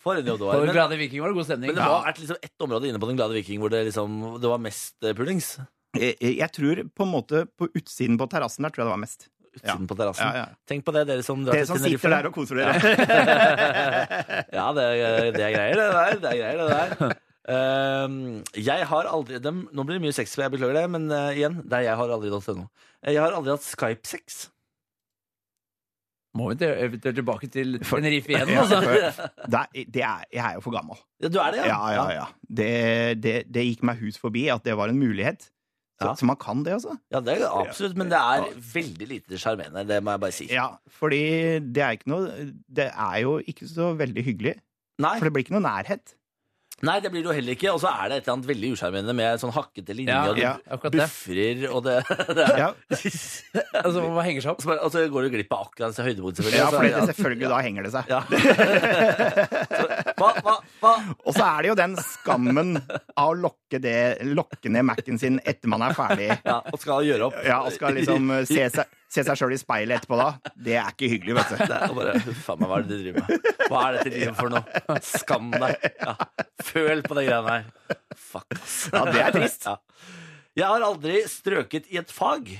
For en jobb det
På
var.
Den
Men,
glade viking var det god stemning.
men det må ha vært liksom ett område inne på Den glade viking hvor det, liksom, det var mest eh, pullings.
Eh, eh, Jeg tror på en måte på utsiden på terrassen der tror jeg det var mest.
Utsiden på terrassen.
Ja, ja.
Tenk på det, dere som drar
Dere som sitter der og koser dere.
Ja, det, er- det er greier, det der. Det er greier, det der. Ehm, jeg har aldri dem, Nå blir det mye sex, for jeg beklager det, men eh, igjen, det er jeg har aldri hatt ennå. Eh, Jeg har aldri hatt Skype-sex.
Må vi til- eventuelt tilbake til Tenerife igjen,
Ja,
altså?
for- det er, det er, jeg er jo for gammel.
Ja, du er det,
Ja, ja, ja. Det, det, det gikk meg hus forbi at det var en mulighet. Så,
Ja.
så man kan det, altså.
Ja, det er absolutt, men det er veldig lite sjarmerende, det må jeg bare si.
Ja, fordi det er ikke noe Det er jo ikke så veldig hyggelig.
Nei,
For det blir ikke noe nærhet.
nei, det blir det jo heller ikke, og så er det et eller annet veldig usjarmerende med sånn hakkete linje,
Ja,
og du
ja,
akkurat det.
buffrer, og det, det er
Ja,
Altså, hva henger seg opp?
Så bare- Og så går du glipp av akkurat høydepunkt, selvfølgelig.
ja
Så-
for det, selvfølgelig, da henger det seg.
Ja. Så, hva, hva, hva?
Og så er det jo den skammen av å lokke, det, lokke ned Mac-en sin etter man er ferdig.
Ja, og skal gjøre opp.
Ja, og skal liksom eh, se seg, se seg sjøl i speilet etterpå da. Det er ikke hyggelig, vet du.
Og bare, faen meg, hva er det du driver med? Hva er dette livet for noe? Skam deg. Ja. Føl på det greiene her. Fuck, ass.
Ja, det er trist.
Ja. Jeg har aldri strøket i et fag.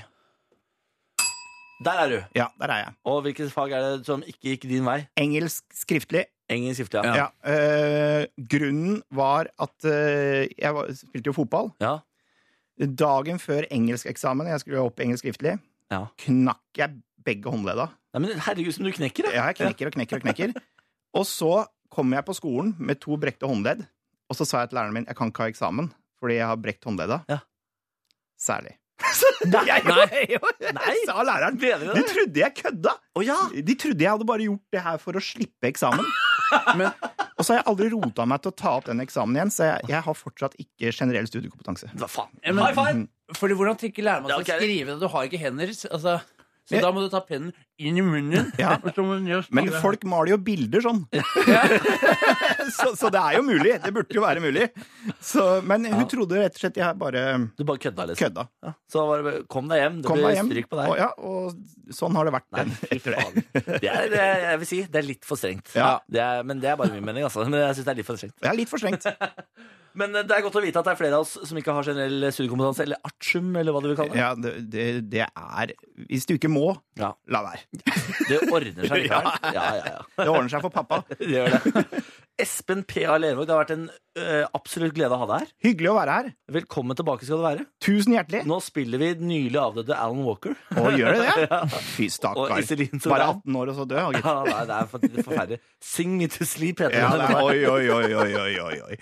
Der er du.
Ja, der er jeg.
Og hvilket fag er det som ikke gikk din vei?
Engelsk skriftlig.
Engelsk skriftlig, ja.
Ja. eh, grunnen var at eh, jeg var, spilte jo fotball.
Ja.
Dagen før engelskeksamen, jeg skulle opp engelsk skriftlig,
ja.
knakk jeg begge håndledda.
Nei, men herregud, som du knekker, da.
Ja, jeg knekker og knekker og knekker. Og så kom jeg på skolen med to brekte håndledd, og så sa jeg til læreren min jeg kan ikke ha eksamen fordi jeg har brekt håndledda.
Ja.
Særlig.
Nei!
Nei.
Sa læreren.
Mener du
De
det?
trodde jeg kødda!
Å ja!
De trodde jeg hadde bare gjort det her for å slippe eksamen. Men, og så har jeg aldri rota meg til å ta opp den eksamen igjen, så jeg, jeg har fortsatt ikke generell studiekompetanse. Mhm.
Hva faen?
Ja, men-
High five!
Fordi hvordan tenker lærer man
Ja,
seg
ok.
å skrive det? Du har ikke hender. s- Altså, så
Men-
da må du ta pennen inn i munnen.
Ja.
og så må du ned og
Men
skrive.
folk maler jo bilder sånn. så, så det er jo mulig. Det burde jo være mulig. Så, men hun trodde rett og slett jeg bare
Du bare kødda, liksom.
kødda.
Ja. Så var det, bare, kom deg hjem. Det
Kom
blir
deg hjem.
stryk på deg.
Og, ja, og sånn har det vært den, etter det.
Det er, det er, jeg vil si, det er litt for strengt.
Ja.
Det er, men det er bare min mening, altså. Men jeg synes det er litt for strengt.
Det er litt for strengt.
Men eh, det er godt å vite at det er flere av oss som ikke har generell studiekompetanse, eller artium, eller hva du vil kalle det.
Ja, det, det, det er Hvis du ikke må,
Ja.
la være.
Det ordner seg likevel. Ja, ja, ja.
Det ordner seg for pappa.
Det gjør det. Espen P.A. Lervåg, det har vært en eh, absolutt glede å ha deg her.
Hyggelig å være her.
Velkommen tilbake skal du være.
Tusen hjertelig.
Nå spiller vi den nylig avdøde Alan Walker.
Og gjør det det? Fy stakkar.
Og Iselin Solan.
Bare 18 år og så død, og gitt.
Ja, nei, det er for- det er forferdelig. Sing me to sleep, heter
Ja,
den.
det er, oi, oi, oi, oi, oi, oi, oi.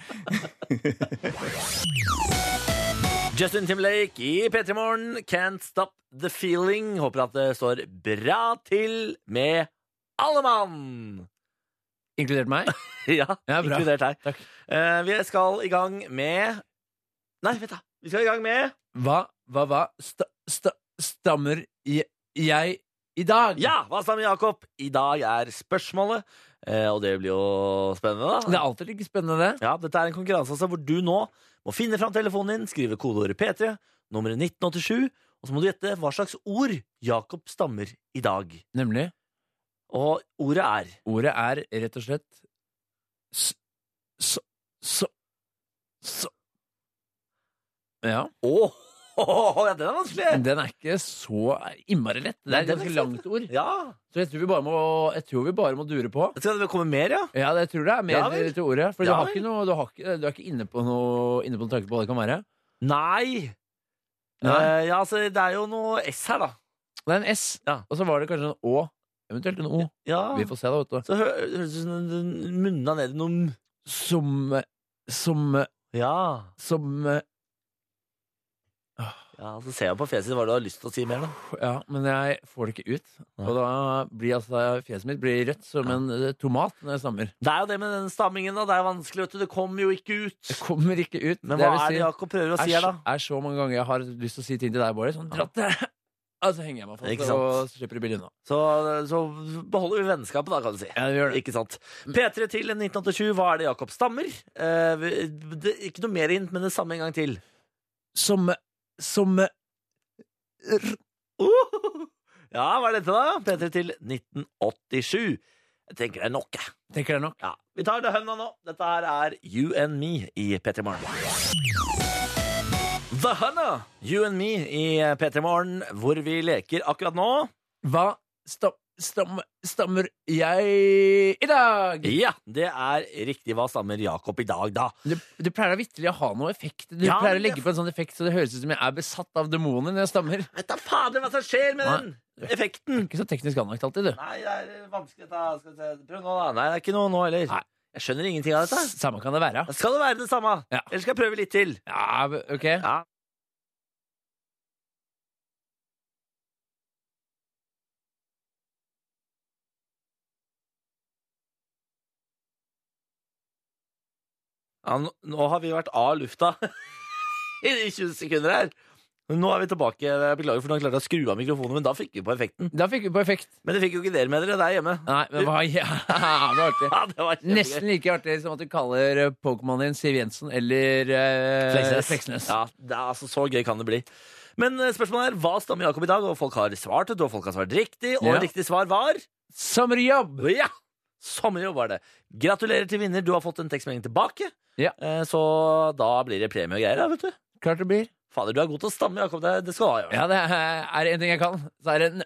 Justin Timberlake i P3 Morgen, Can't Stop The Feeling. Håper at det står bra til med alle mann!
Inkludert meg.
Ja,
Ja, bra.
inkludert deg.
Takk.
Eh, vi skal i gang med Nei, vent, da. Vi skal i gang med
Hva, hva, hva? Sta, sta, stammer i, jeg i dag?
Ja, hva sa med Jakob? I dag er spørsmålet, eh, og det blir jo spennende,
Det er
da.
alltid like spennende, det.
Ja, Dette er en konkurranse altså, hvor du nå må finne fram telefonen din, skrive kodeordet P3, nummeret 1987, og så må du gjette hva slags ord Jakob stammer i dag.
Nemlig.
Og ordet er
Ordet er rett og slett s... så... så... så... Ja.
Å, ja, den er vanskelig!
Den er ikke så innmari lett. Det
Nei,
er et
den er
ganske
ikke
langt ord.
Ja.
Så jeg tror vi bare må, jeg tror vi bare må dure på.
Skal det komme mer, ja?
Ja, det tror jeg er mer
Ja vel.
til ordet. For du,
Ja
har
vel.
ikke noe, du, har ikke, du er ikke inne på noe, inne på noen tanke på hva det kan være.
Nei.
Nei.
Eh, ja, altså, det er jo noe S her, da.
Det er en S,
Ja.
og så var det kanskje en Å. Eventuelt en O.
Ja.
Vi får se, da, vet du.
Så hø- høres det ut som den munna ned i noen
Som Som
Ja.
Som
ja så ser jeg på fjeset ditt hva du har lyst til å si mer, da.
Ja, men jeg får det ikke ut. Og da blir altså fjeset mitt blir rødt som en eh, tomat når jeg stammer.
Det er jo det med den stammingen, da. Det er vanskelig, vet du. Det kommer jo ikke ut.
Det kommer ikke ut.
Men hva
jeg vil
er
si-
det Jakob prøver å si
er,
her,
så-
da?
er så mange ganger jeg har lyst til å si ting til deg, Bård. Sånn, dratt det! Og så henger jeg meg
Ikke
fast
sant?
og slipper det billig unna.
Så, så beholder vi vennskapet, da, kan du si.
Ja, vi gjør det.
Ikke sant. P3 til 1987. Hva er det Jakob stammer? Eh, vi- det, ikke noe mer hint, men det samme en gang til.
Som Som
Uh! Ja, hva er dette, da? P3 til 1987. Jeg tenker det er nok, jeg.
Tenker jeg nok.
Ja. Vi tar det hønda nå. Dette her er You and Me i P3 Morgen. The Hunna, You and Me i P3 Morgen, hvor vi leker akkurat nå.
Hva stam, stam, stammer jeg i dag?
Ja, det er riktig. Hva stammer Jakob i dag, da?
Du, du pleier da vitterlig å ha noe effekt. Du
Ja,
pleier å
men
legge
det-
på en sånn effekt så det høres ut som jeg er besatt av demoner når jeg stammer.
Vet da fader hva som skjer med
Nei.
den effekten!
Ikke så teknisk anlagt alltid, du.
Nei, det er vanskelig, dette. Skal vi se. Prøv nå, da. Nei, det er ikke noe nå heller.
Nei.
Jeg skjønner ingenting av dette.
Samme kan det være.
Da skal det være det samme.
Ja.
Eller skal jeg prøve litt til?
Ja, ok.
Ja. nå, nå har vi vært av lufta i de 20 sekunder her. Men Nå er vi tilbake. Jeg Beklager, for nå klarte jeg å skru av mikrofonen, men da fikk vi på effekten.
Da fikk vi på effekt.
Men det fikk jo ikke dere med dere der hjemme.
Nei, men hva Jævla artig.
Ja, det var kjempegøy.
Nesten like artig som at du kaller eh, Pokémon din Siv Jensen eller eh,
Fleksnes.
Fleksnes.
Ja, det er altså så gøy kan det bli. Men eh, spørsmålet er, hva stammer Jakob i dag? Og folk har svart, og folk har svart riktig, og
Ja.
riktig svar var
Sommerjobb!
Ja! Sommerjobb var det. Gratulerer til vinner, du har fått en tekstmelding tilbake.
Ja.
Eh, Så da blir det premie og greier, da, vet du.
Klart det blir.
Fader, du er god til å stamme, Jakob. Det, det skal du ha. Jørgen.
Ja, det er er det én ting jeg kan, så er det n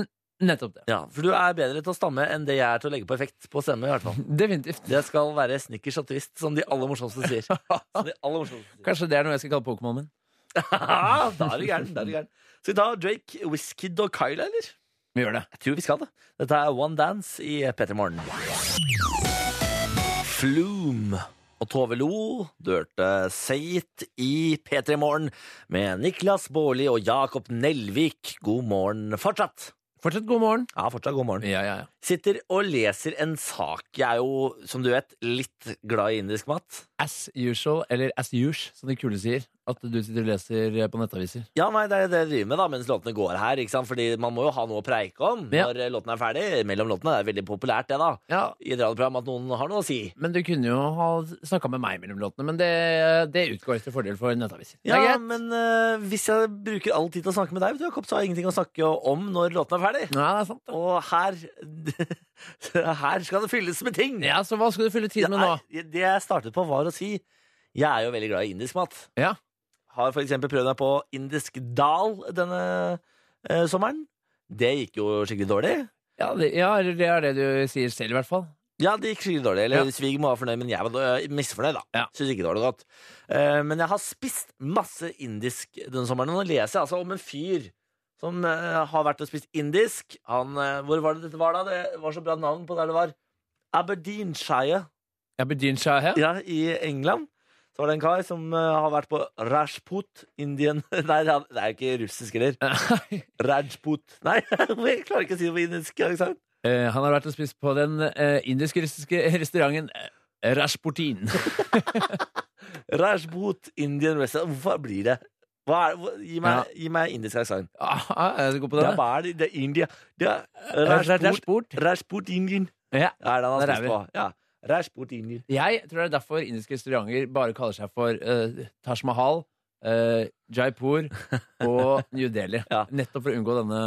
n nettopp det.
Ja, for du er bedre til å stamme enn det jeg er til å legge på effekt på stemme. i hvert fall.
Definitivt.
Det skal være snickers og twist, som de aller morsomste sier. Som de aller morsomste sier.
Kanskje det er noe jeg skal kalle Pokémon min.
Ah, da er du gæren. da er du gæren. Skal vi ta Drake, Whiskid og Kyla, eller?
Vi gjør det.
Jeg tror vi skal det. Dette er One Dance i P3 Morgen. Flume og Tove Lo dørte Seit i P3 Morgen med Niklas Baarli og Jakob Nelvik. God morgen fortsatt.
Fortsatt god morgen.
Ja, fortsatt god morgen.
Ja, ja, ja.
Sitter og leser en sak. Jeg er jo, som du vet, litt glad i indisk mat.
As usual, eller as usual, som de kule sier. At du sitter og leser eh, på nettaviser.
Ja, nei, det er det jeg driver med da, mens låtene går her, ikke sant? Fordi man må jo ha noe å preike om
Ja.
når låtene er ferdig. Mellom låtene. Det er veldig populært, det, da.
Ja,
I et radioprogram at noen har noe å si.
men du kunne jo ha snakka med meg mellom låtene, men det, det utgår til fordel for nettaviser. Det er
Ja,
greit.
men eh, hvis jeg bruker all tid til å snakke med deg, vet du, Jakob, så har jeg ingenting å snakke om når låten er ferdig.
Ja, det er sant. det.
Og her Her skal det fylles med ting!
Ja, så hva skal du fylle tid med nå?
Jeg- det jeg startet på, var å si jeg er jo veldig glad i indisk mat.
Ja.
Har for eksempel prøvd meg på indisk dal denne eh, sommeren. Det gikk jo skikkelig dårlig.
Ja, det, ja, eller det er det du sier selv, i hvert fall.
Ja, det gikk skikkelig dårlig. Eller
Ja.
svigermor var fornøyd, men jeg var dår- misfornøyd, da.
Ja.
Synes ikke det var noe godt. Eh, men jeg har spist masse indisk denne sommeren. Og nå leser jeg altså om en fyr som eh, har vært og spist indisk. Han, eh, hvor var det dette var, da? Det var så bra navn på der det var. Aberdeenshire
Aberdeenshire her.
ja, i England. Så var det en kar som eh, har vært på Rajput, Indian Nei, det er- det er ikke russisk heller. Rajput. Nei, jeg klarer ikke å si det på indisk aksent.
Eh, han har vært og spist på den eh, indisk-russiske restauranten eh, Rashportin.
Rajput Indian Restaurant. Hvorfor blir det Hva er, hva, gi, meg, gi meg indisk aksent.
Ah, ah, er du god på
Ja,
den? Eh,
hva er det? Det er India. Det er Rajput-
Rajput.
Rajput Indian.
Ja.
Er det han har
Der er
spist på? Ja. Rajput Indian.
Jeg tror det er derfor indiske restauranter bare kaller seg for eh, Taj Mahal, eh, Jaipur og New Delhi.
Ja.
Nettopp for å unngå denne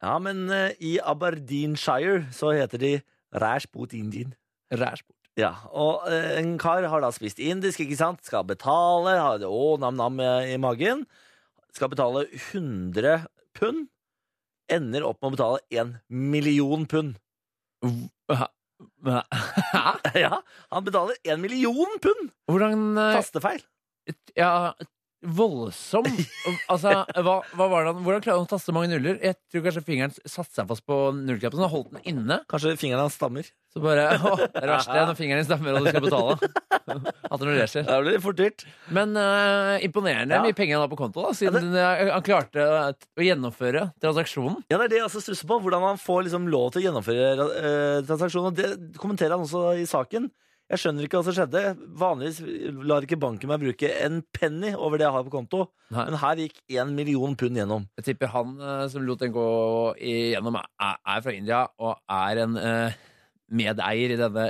Ja, men eh, i Aberdeenshire så heter de Rajput Indian.
Rajput.
Ja, og eh, en kar har da spist indisk, ikke sant? Skal betale, har det å, nam-nam i magen. Skal betale 100 pund. Ender opp med å betale 1 million pund.
Hæ?
Ja, han betaler 1 million pund!
Hvordan eh,
Tastefeil.
Ja, voldsom Altså, hva, hva var det han Hvordan klarer han å taste mange nuller? Jeg tror kanskje fingeren satte seg fast på nullknappen, så han holdt den inne.
Kanskje fingrene hans stammer.
Så bare Å, det er det verste når fingeren din stammer og du skal betale. At det nuller seg.
Da blir det fort dyrt.
Men eh, imponerende
Ja.
mye penger han har på konto, da, siden eh, han klarte å gjennomføre transaksjonen.
Ja, det er det jeg også stusser på. Hvordan man får liksom lov til å gjennomføre eh, transaksjoner. Det kommenterer han også i saken. Jeg skjønner ikke hva som skjedde. Vanligvis lar ikke banken meg bruke en penny over det jeg har på konto,
Nei.
men her gikk én million pund gjennom.
Jeg tipper han eh, som lot den gå igjennom, er, er fra India og er en eh, medeier i denne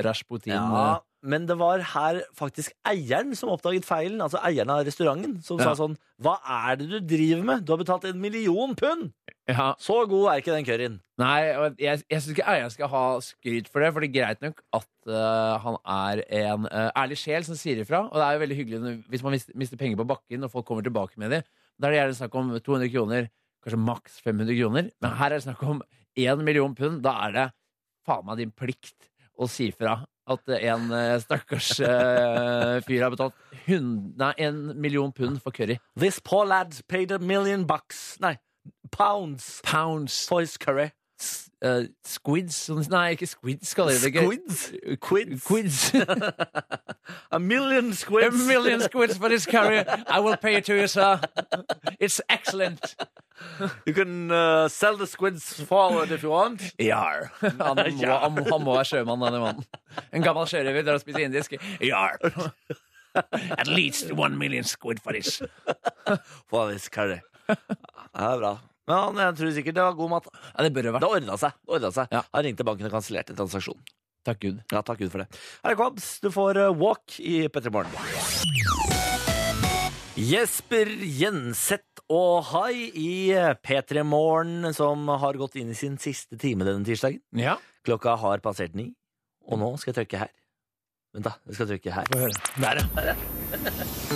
Rajputin. eh,
Ja, men det var her faktisk eieren som oppdaget feilen. Altså eieren av restauranten, som
Ja.
sa sånn Hva er det du driver med? Du har betalt en million pund!
ja,
Så god er ikke den curryen.
Nei, og jeg, jeg syns ikke eieren skal ha skryt for det, for det er greit nok at øh, han er en øh, ærlig sjel som sier ifra. Og det er jo veldig hyggelig når, hvis man mister, mister penger på bakken, og folk kommer tilbake med de. Da er det gjerne snakk om 200 kroner, kanskje maks 500 kroner. Men her er det snakk om 1 million pund. Da er det faen meg din plikt å si ifra at en øh, stakkars øh, fyr har betalt 100, nei, 1 million pund for curry.
This poor lad paid a million bucks Nei, pounds
Pounds.
for his curry.
s- eh, squids som- Nei, ikke squids kaller de det ikke.
Squids? Quids.
Quids.
A million
A
squids.
million squids for this curry. I will pay it to you, sir. It's excellent.
You can uh, sell the squids forward if you want.
Yar. Han må, han må, han må være sjømann, denne mannen. En gammel sjørøver drar og spiser indisk. Yar. At least one million squid for this.
For this curry. Ja, det er bra. Men han, jeg tror sikkert det var god mat.
Ja, det bør det
Det
være.
ordna seg. Det ordnet seg.
Ja.
Han ringte banken og kansellerte transaksjonen.
Takk Gud.
Ja, takk Gud for det. Her er Kvabs. Du får eh, Walk i P3 Morgen. Jesper Jenseth og Hai i eh, P3 Morgen, som har gått inn i sin siste time denne tirsdagen.
Ja,
Klokka har passert ni, og nå skal jeg trykke her. Vent, da. Jeg skal trykke her.
få høre. Der, ja.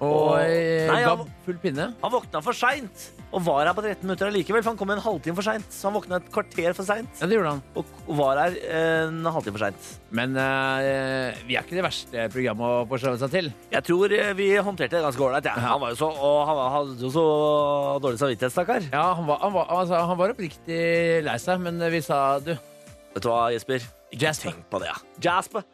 og eh,
Nei,
ga
han-
full pinne.
Han våkna for seint, og var her på 13 minutter allikevel, for han kom en halvtime for seint. Så han våkna et kvarter for seint,
Ja, det gjorde han.
og k- var her eh, en halvtime for seint.
Men eh, vi er ikke det verste programmet å forstå seg til.
Jeg tror eh, vi håndterte det ganske ålreit. Ja. Han var jo så, og han var- hadde jo så dårlig samvittighet, stakkar.
Ja, han var, han var, altså, han var oppriktig lei seg, men eh, vi sa du
Vet du hva, Jesper? Ikke tenk på det. ja. Jasper.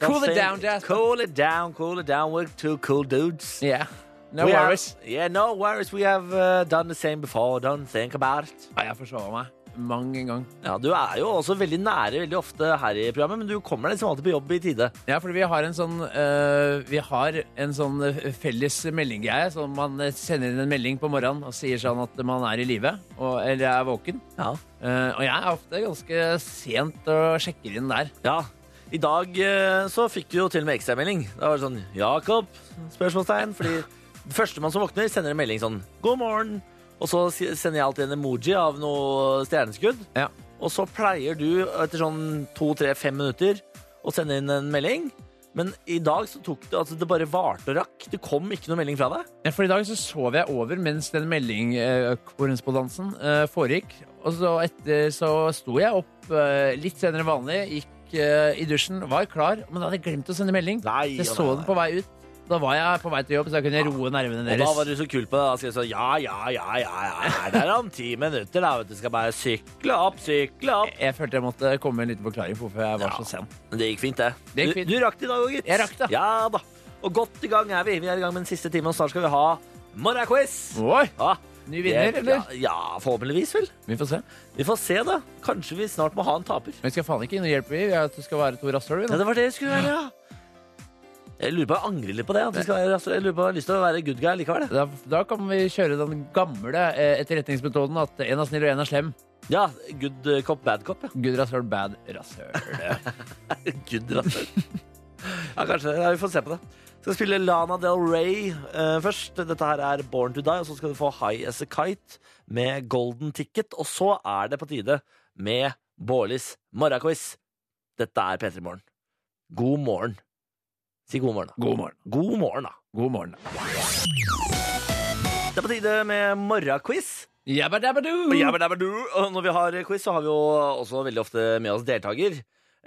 Cool it
Don't
down,
think-
Jasper.
Cool it down, cool it down. We're two cool dudes.
yeah, No
We
worries.
Have, yeah, no worries. We have uh, done the same before. Don't think about it.
Ja, jeg forsvara meg mang en gang.
Ja, du er jo også veldig nære veldig ofte her i programmet, men du kommer deg liksom alltid på jobb i tide.
Ja, fordi vi har en sånn øh, Vi har en sånn øh, felles meldinggreie. Så man øh, sender inn en melding på morgenen og sier sånn at man er i live, og- eller er våken.
Ja.
Eh, og jeg er ofte ganske sent og sjekker inn der.
ja. I dag eh, så fikk du jo til og med ekstramelding. Da var det sånn Jakob? Spørsmålstegn. Fordi førstemann som våkner, sender en melding sånn God morgen. Og så si- sender jeg alltid en emoji av noe stjerneskudd.
Ja.
Og så pleier du etter sånn to, tre, fem minutter å sende inn en melding. Men i dag så tok det altså det bare varte og rakk. Det kom ikke noe melding fra deg.
Ja, For i dag så sov jeg over mens den meldingkorrespondansen uh, foregikk. Og så etter så sto jeg opp eh, litt senere enn vanlig, gikk eh, i dusjen, var klar, men da hadde jeg glemt å sende melding.
Nei,
Så jeg
ja,
så
nei,
den på vei ut. Da var jeg på vei til jobb, så da kunne jeg roe nervene
Og
deres.
da var du så kul på det. Da skrev jeg sånn Ja, ja, ja, ja, ja. Det er om ti minutter, da. Vet du skal bare sykle opp, sykle opp.
Jeg følte jeg måtte komme med en liten forklaring på hvorfor jeg var
Ja.
så sen.
Men det gikk fint, det.
Det gikk fint.
Du, du rakk det i dag òg, gitt.
Jeg rakk det.
Ja da. Og godt i gang er vi. Vi er i gang med den siste timen, og snart skal vi ha morgenquiz.
Oi,
Ja.
Ny vinner,
Det-
eller?
Ja, ja, forhåpentligvis, vel.
Vi får se.
Vi får se, da. Kanskje vi snart må ha en taper.
Men vi skal faen ikke inn og hjelpe, vi. Vi er- skal være to rasshøl, vi.
Ja,
nå.
det var det det skulle være, ja. Jeg lurer på, jeg angrer litt på det. At vi skal, være- altså, jeg lurer på, jeg har lyst til å være good guy likevel. jeg.
Da, da kan vi kjøre den gamle eh, etterretningsmetoden at en er snill og en er slem.
Ja, good cop, bad cop. Ja.
Good rasshøl, bad rasshøl.
Good rasshøl. Ja, kanskje. Ja, vi får se på det. Skal spille Lana Del Rey eh, først. Dette her er Born to Die, og så skal du få High As A Kite med Golden Ticket. Og så er det på tide med Bårlis morgenquiz. Dette er P3 Morgen. God morgen. Si god morgen, da.
God morgen.
God morgen, da.
God morgen.
Det er på tide med morgenquiz.
Jabba dabba doo!
Og jabba dabba do. Og når vi har quiz, så har vi jo også veldig ofte med oss deltaker.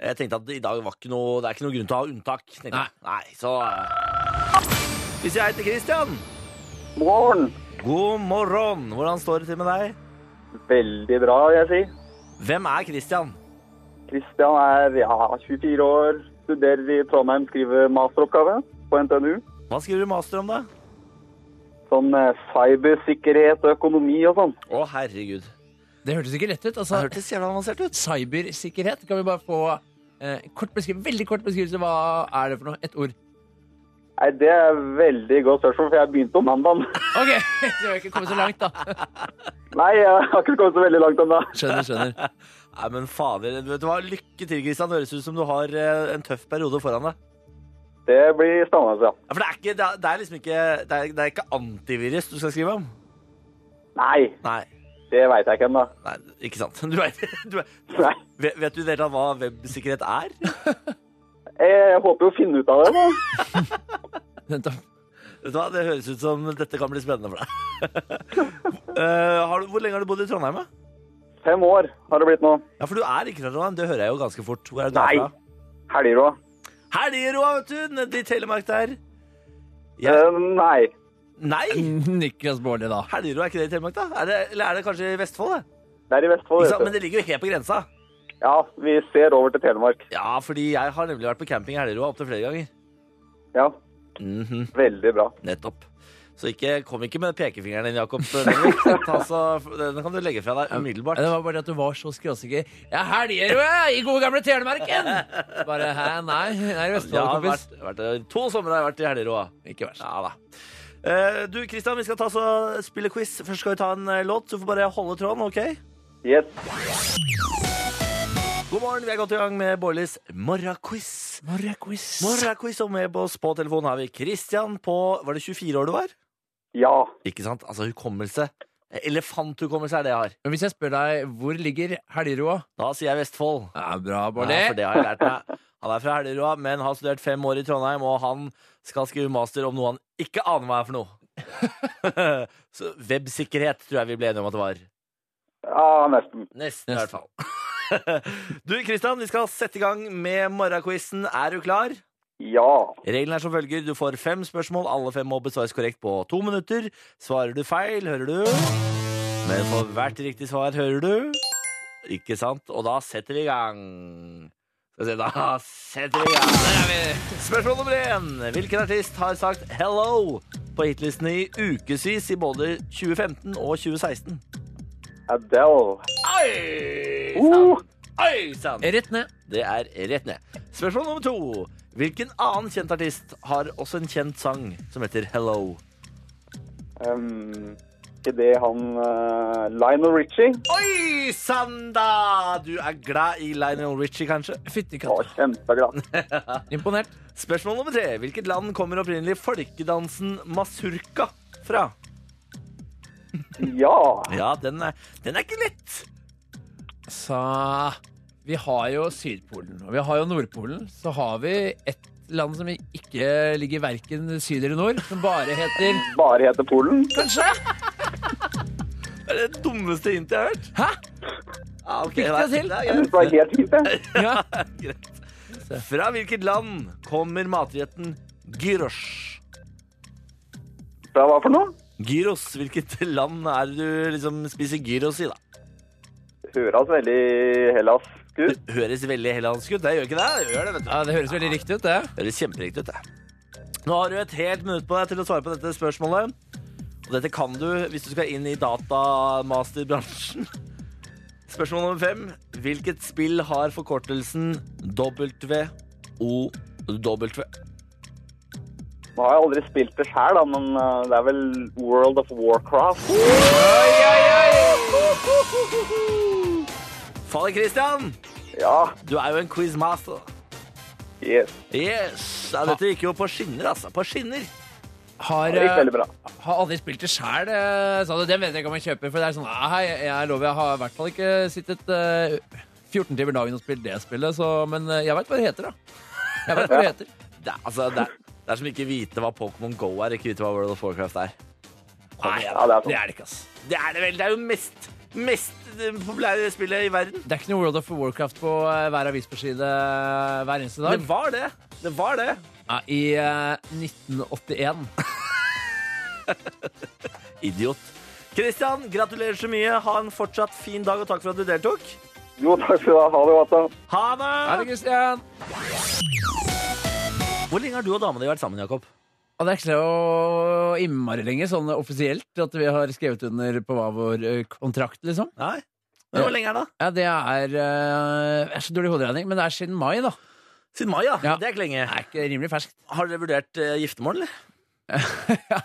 Jeg tenkte at i dag var ikke noe, det er ikke noe grunn til å ha unntak. tenkte jeg.
Nei.
Nei, så eh, Hvis jeg heter Christian
Morgen.
God morgen! Hvordan står det til med deg?
Veldig bra, vil jeg si.
Hvem er Christian?
Kristian er ja, 24 år, studerer i Trondheim, skriver masteroppgave på NTNU.
Hva skriver du master om, da?
Sånn eh, cybersikkerhet og økonomi og sånn.
Å, herregud.
Det hørtes ikke lett ut.
Det
altså.
hørtes jævla avansert ut.
Cybersikkerhet. Kan vi bare få eh, kort beskri- veldig kort beskrivelse? Hva er det for noe? Ett ord.
Nei, det er veldig godt spørsmål, for jeg begynte om mandagen.
OK! Så vi har ikke kommet så langt, da.
Nei, jeg har ikke kommet så veldig langt ennå.
Skjønner, skjønner.
Nei, men fader. Vet du hva? Lykke til, Christian. Det høres ut som du har eh, en tøff periode foran deg.
Det blir spennende, altså. ja.
Ja, For det er, ikke, det er, det er liksom ikke det er, det er ikke antivirus du skal skrive om.
Nei,
Nei.
det veit jeg ikke ennå.
Nei, ikke sant. Du vet, du vet,
Nei.
vet vet du i det hele tatt hva websikkerhet er?
Eh, Jeg håper jo å finne ut av det. Da.
Vent da.
Vet du hva, Det høres ut som dette kan bli spennende for deg. Eh, har du, hvor lenge har du bodd i Trondheim? da?
Fem år har det blitt nå.
Ja, For du er ikke fra Trondheim, det hører jeg jo ganske fort. Hvor er du
Nei.
derfra?
Helger òg.
Helgeroa, vet du! Nede i Telemark der. Ja.
Eh, Nei.
Nei!
Niklas Baarli, da.
Helgeroa, er ikke det i Telemark, da? Er det, eller er det kanskje i Vestfold? det?
Det er i Vestfold.
Ikke sant?
vet
Men
du.
det ligger jo helt på grensa.
Ja, vi ser over til Telemark.
Ja, fordi jeg har nemlig vært på camping i Helgeroa opptil flere ganger.
Ja,
Mhm,
veldig bra.
Nettopp. Så ikke, kom ikke med pekefingeren din, Jakob. eh, Den, altså, den kan du legge fra deg umiddelbart.
Ja, Det var bare det at du var så skråsikker. Ja, helger, jeg, eh, i gode gamle Telemarken! Bare hæ, nei. Jeg er i
Jeg
Vestfold,
har
kompis.
vært, vært, to somre har jeg vært i Helgeroa.
Ikke verst.
Ja da. Eh, du, Kristian, vi skal ta så spille quiz. Først skal vi ta en eh, låt. Du får bare holde tråden, OK?
Yes.
God morgen, vi er godt i gang med Bårlis morgenquiz.
Morgenquiz.
Morgenquiz, og med oss på telefonen har vi Kristian på Var det 24 år du var?
Ja.
Ikke sant? Altså hukommelse. Elefanthukommelse er det jeg har.
Men hvis jeg spør deg hvor ligger Helgeroa?
Da sier jeg Vestfold.
Ja, bra, Baarli.
Ja, for det har jeg lært meg. Han er fra Hellerua, men har studert fem år i Trondheim, og han skal skrive master om noe han ikke aner hva er for noe. Så websikkerhet tror jeg vi ble enige om at det var.
Ja, nesten.
Nesten, i hvert fall. Du, Kristian, vi skal sette i gang med morgenquizen. Er du klar?
Ja.
Reglene er som følger. Du får fem spørsmål. Alle fem må besvares korrekt på to minutter. Svarer du feil, hører du. Men for hvert riktig svar hører du. Ikke sant? Og da setter vi i gang. Skal vi se, da setter vi i gang. Spørsmål nummer én. Hvilken artist har sagt 'hello' på hitlistene i ukevis i både 2015 og 2016?
Adele.
Oi
Uh,
sann!
Rett ned.
Det er rett ned. Spørsmål nummer to. Hvilken annen kjent artist har også en kjent sang som heter 'Hello'?
um, ikke det han eh, Lionel Richie?
Oi sann, da! Du er glad i Lionel Richie, kanskje?
Fytti
Å,
katta.
kjempeglad.
Imponert.
Spørsmål nummer tre. Hvilket land kommer opprinnelig folkedansen masurka fra?
Ja.
Ja, den er, den er ikke lett.
sa Vi har jo Sydpolen, og vi har jo Nordpolen. Så har vi et land som ikke ligger verken syd eller nord, som bare heter
Bare heter Polen.
Kanskje?
Det er det dummeste hintet jeg har hørt.
Hæ?
Ja, ok,
Fikk det til.
det er
Jeg synes
greit.
det var helt fint, jeg.
Ja.
Greit. Fra hvilket land kommer matretten gyros?
Ja, hva for noe?
Gyros. Hvilket land er det du liksom spiser gyros i, da?
Høres veldig Hellas ut.
Det høres veldig hellandsk ut. Det gjør ikke det. Det gjør det, vet du.
Ja, Det høres veldig riktig ut, det.
Det høres kjemperiktig ut, det. Nå har du et helt minutt på deg til å svare på dette spørsmålet. Og dette kan du hvis du skal inn i datamasterbransjen. Spørsmål nummer fem. Hvilket spill har forkortelsen WOW?
Nå har jeg aldri spilt det sjøl, men eh, det er vel World of Warcraft.
Fader Christian,
Ja,
du er jo en quizmaster.
yes.
Yes! Ja, dette gikk jo på skinner, altså. På skinner.
Har,
Det gikk veldig bra.
eh, har aldri spilt det sjæl, sa du. Det vet jeg ikke om jeg kjøper. For det er sånn ah, jeg, jeg lover, jeg har i hvert fall ikke sittet eh, 14 timer dagen og spilt det spillet, så Men eh, jeg veit hva det heter, da. Jeg vet hva det heter.
Det, er- altså, det, er, det er som ikke vite hva Pokémon Go er, ikke vite hva World of Warcraft er.
Nei,
Ja, det er
det
sånn.
er det ikke, ass.
Det er det vel. Det er jo mest, mest eh, populære spillet i verden.
Det er ikke noe World of Warcraft på eh, hver avisforside hver eneste
Det
dag.
var det. Det var det.
Ja, I eh, 1981.
Idiot. Christian, gratulerer så mye. Ha en fortsatt fin dag, og takk for at du deltok.
Jo, takk skal du ha. Ha det godt, da.
Ha
Er det
det!
Christian?
Hvor lenge har du og dama di vært sammen, Jakob?
Og det er ikke så innmari lenge, sånn offisielt, at vi har skrevet under på hva vår eh, kontrakt, liksom.
Nei. Men Hvor lenge er det? da?
Ja, det er eh, Jeg er så dårlig i hoderegning, men det er siden mai, da.
Siden mai, ja.
Ja.
Det er ikke lenge.
Det er ikke rimelig ferskt.
Har dere vurdert eh, giftermål, eller?
Jeg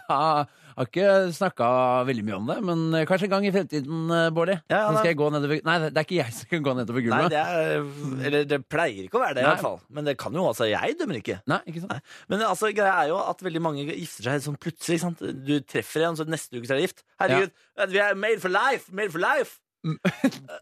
har ikke snakka veldig mye om det, men eh, kanskje en gang i fremtiden, eh, Bård.
Ja, ja,
Nå
nei.
skal jeg gå nedover Nei, det er ikke jeg som skal gå nedover
Nei,
gulvet.
det er, eh, eller det pleier ikke å være det, i
Nei.
hvert fall. Men det kan jo altså, jeg dømmer ikke.
Nei, ikke sant?
Men altså, greia er jo at veldig mange gifter seg helt sånn plutselig. ikke sant? Du treffer en, så neste uke så er de gift. Herregud, vi er made for life! Made for life!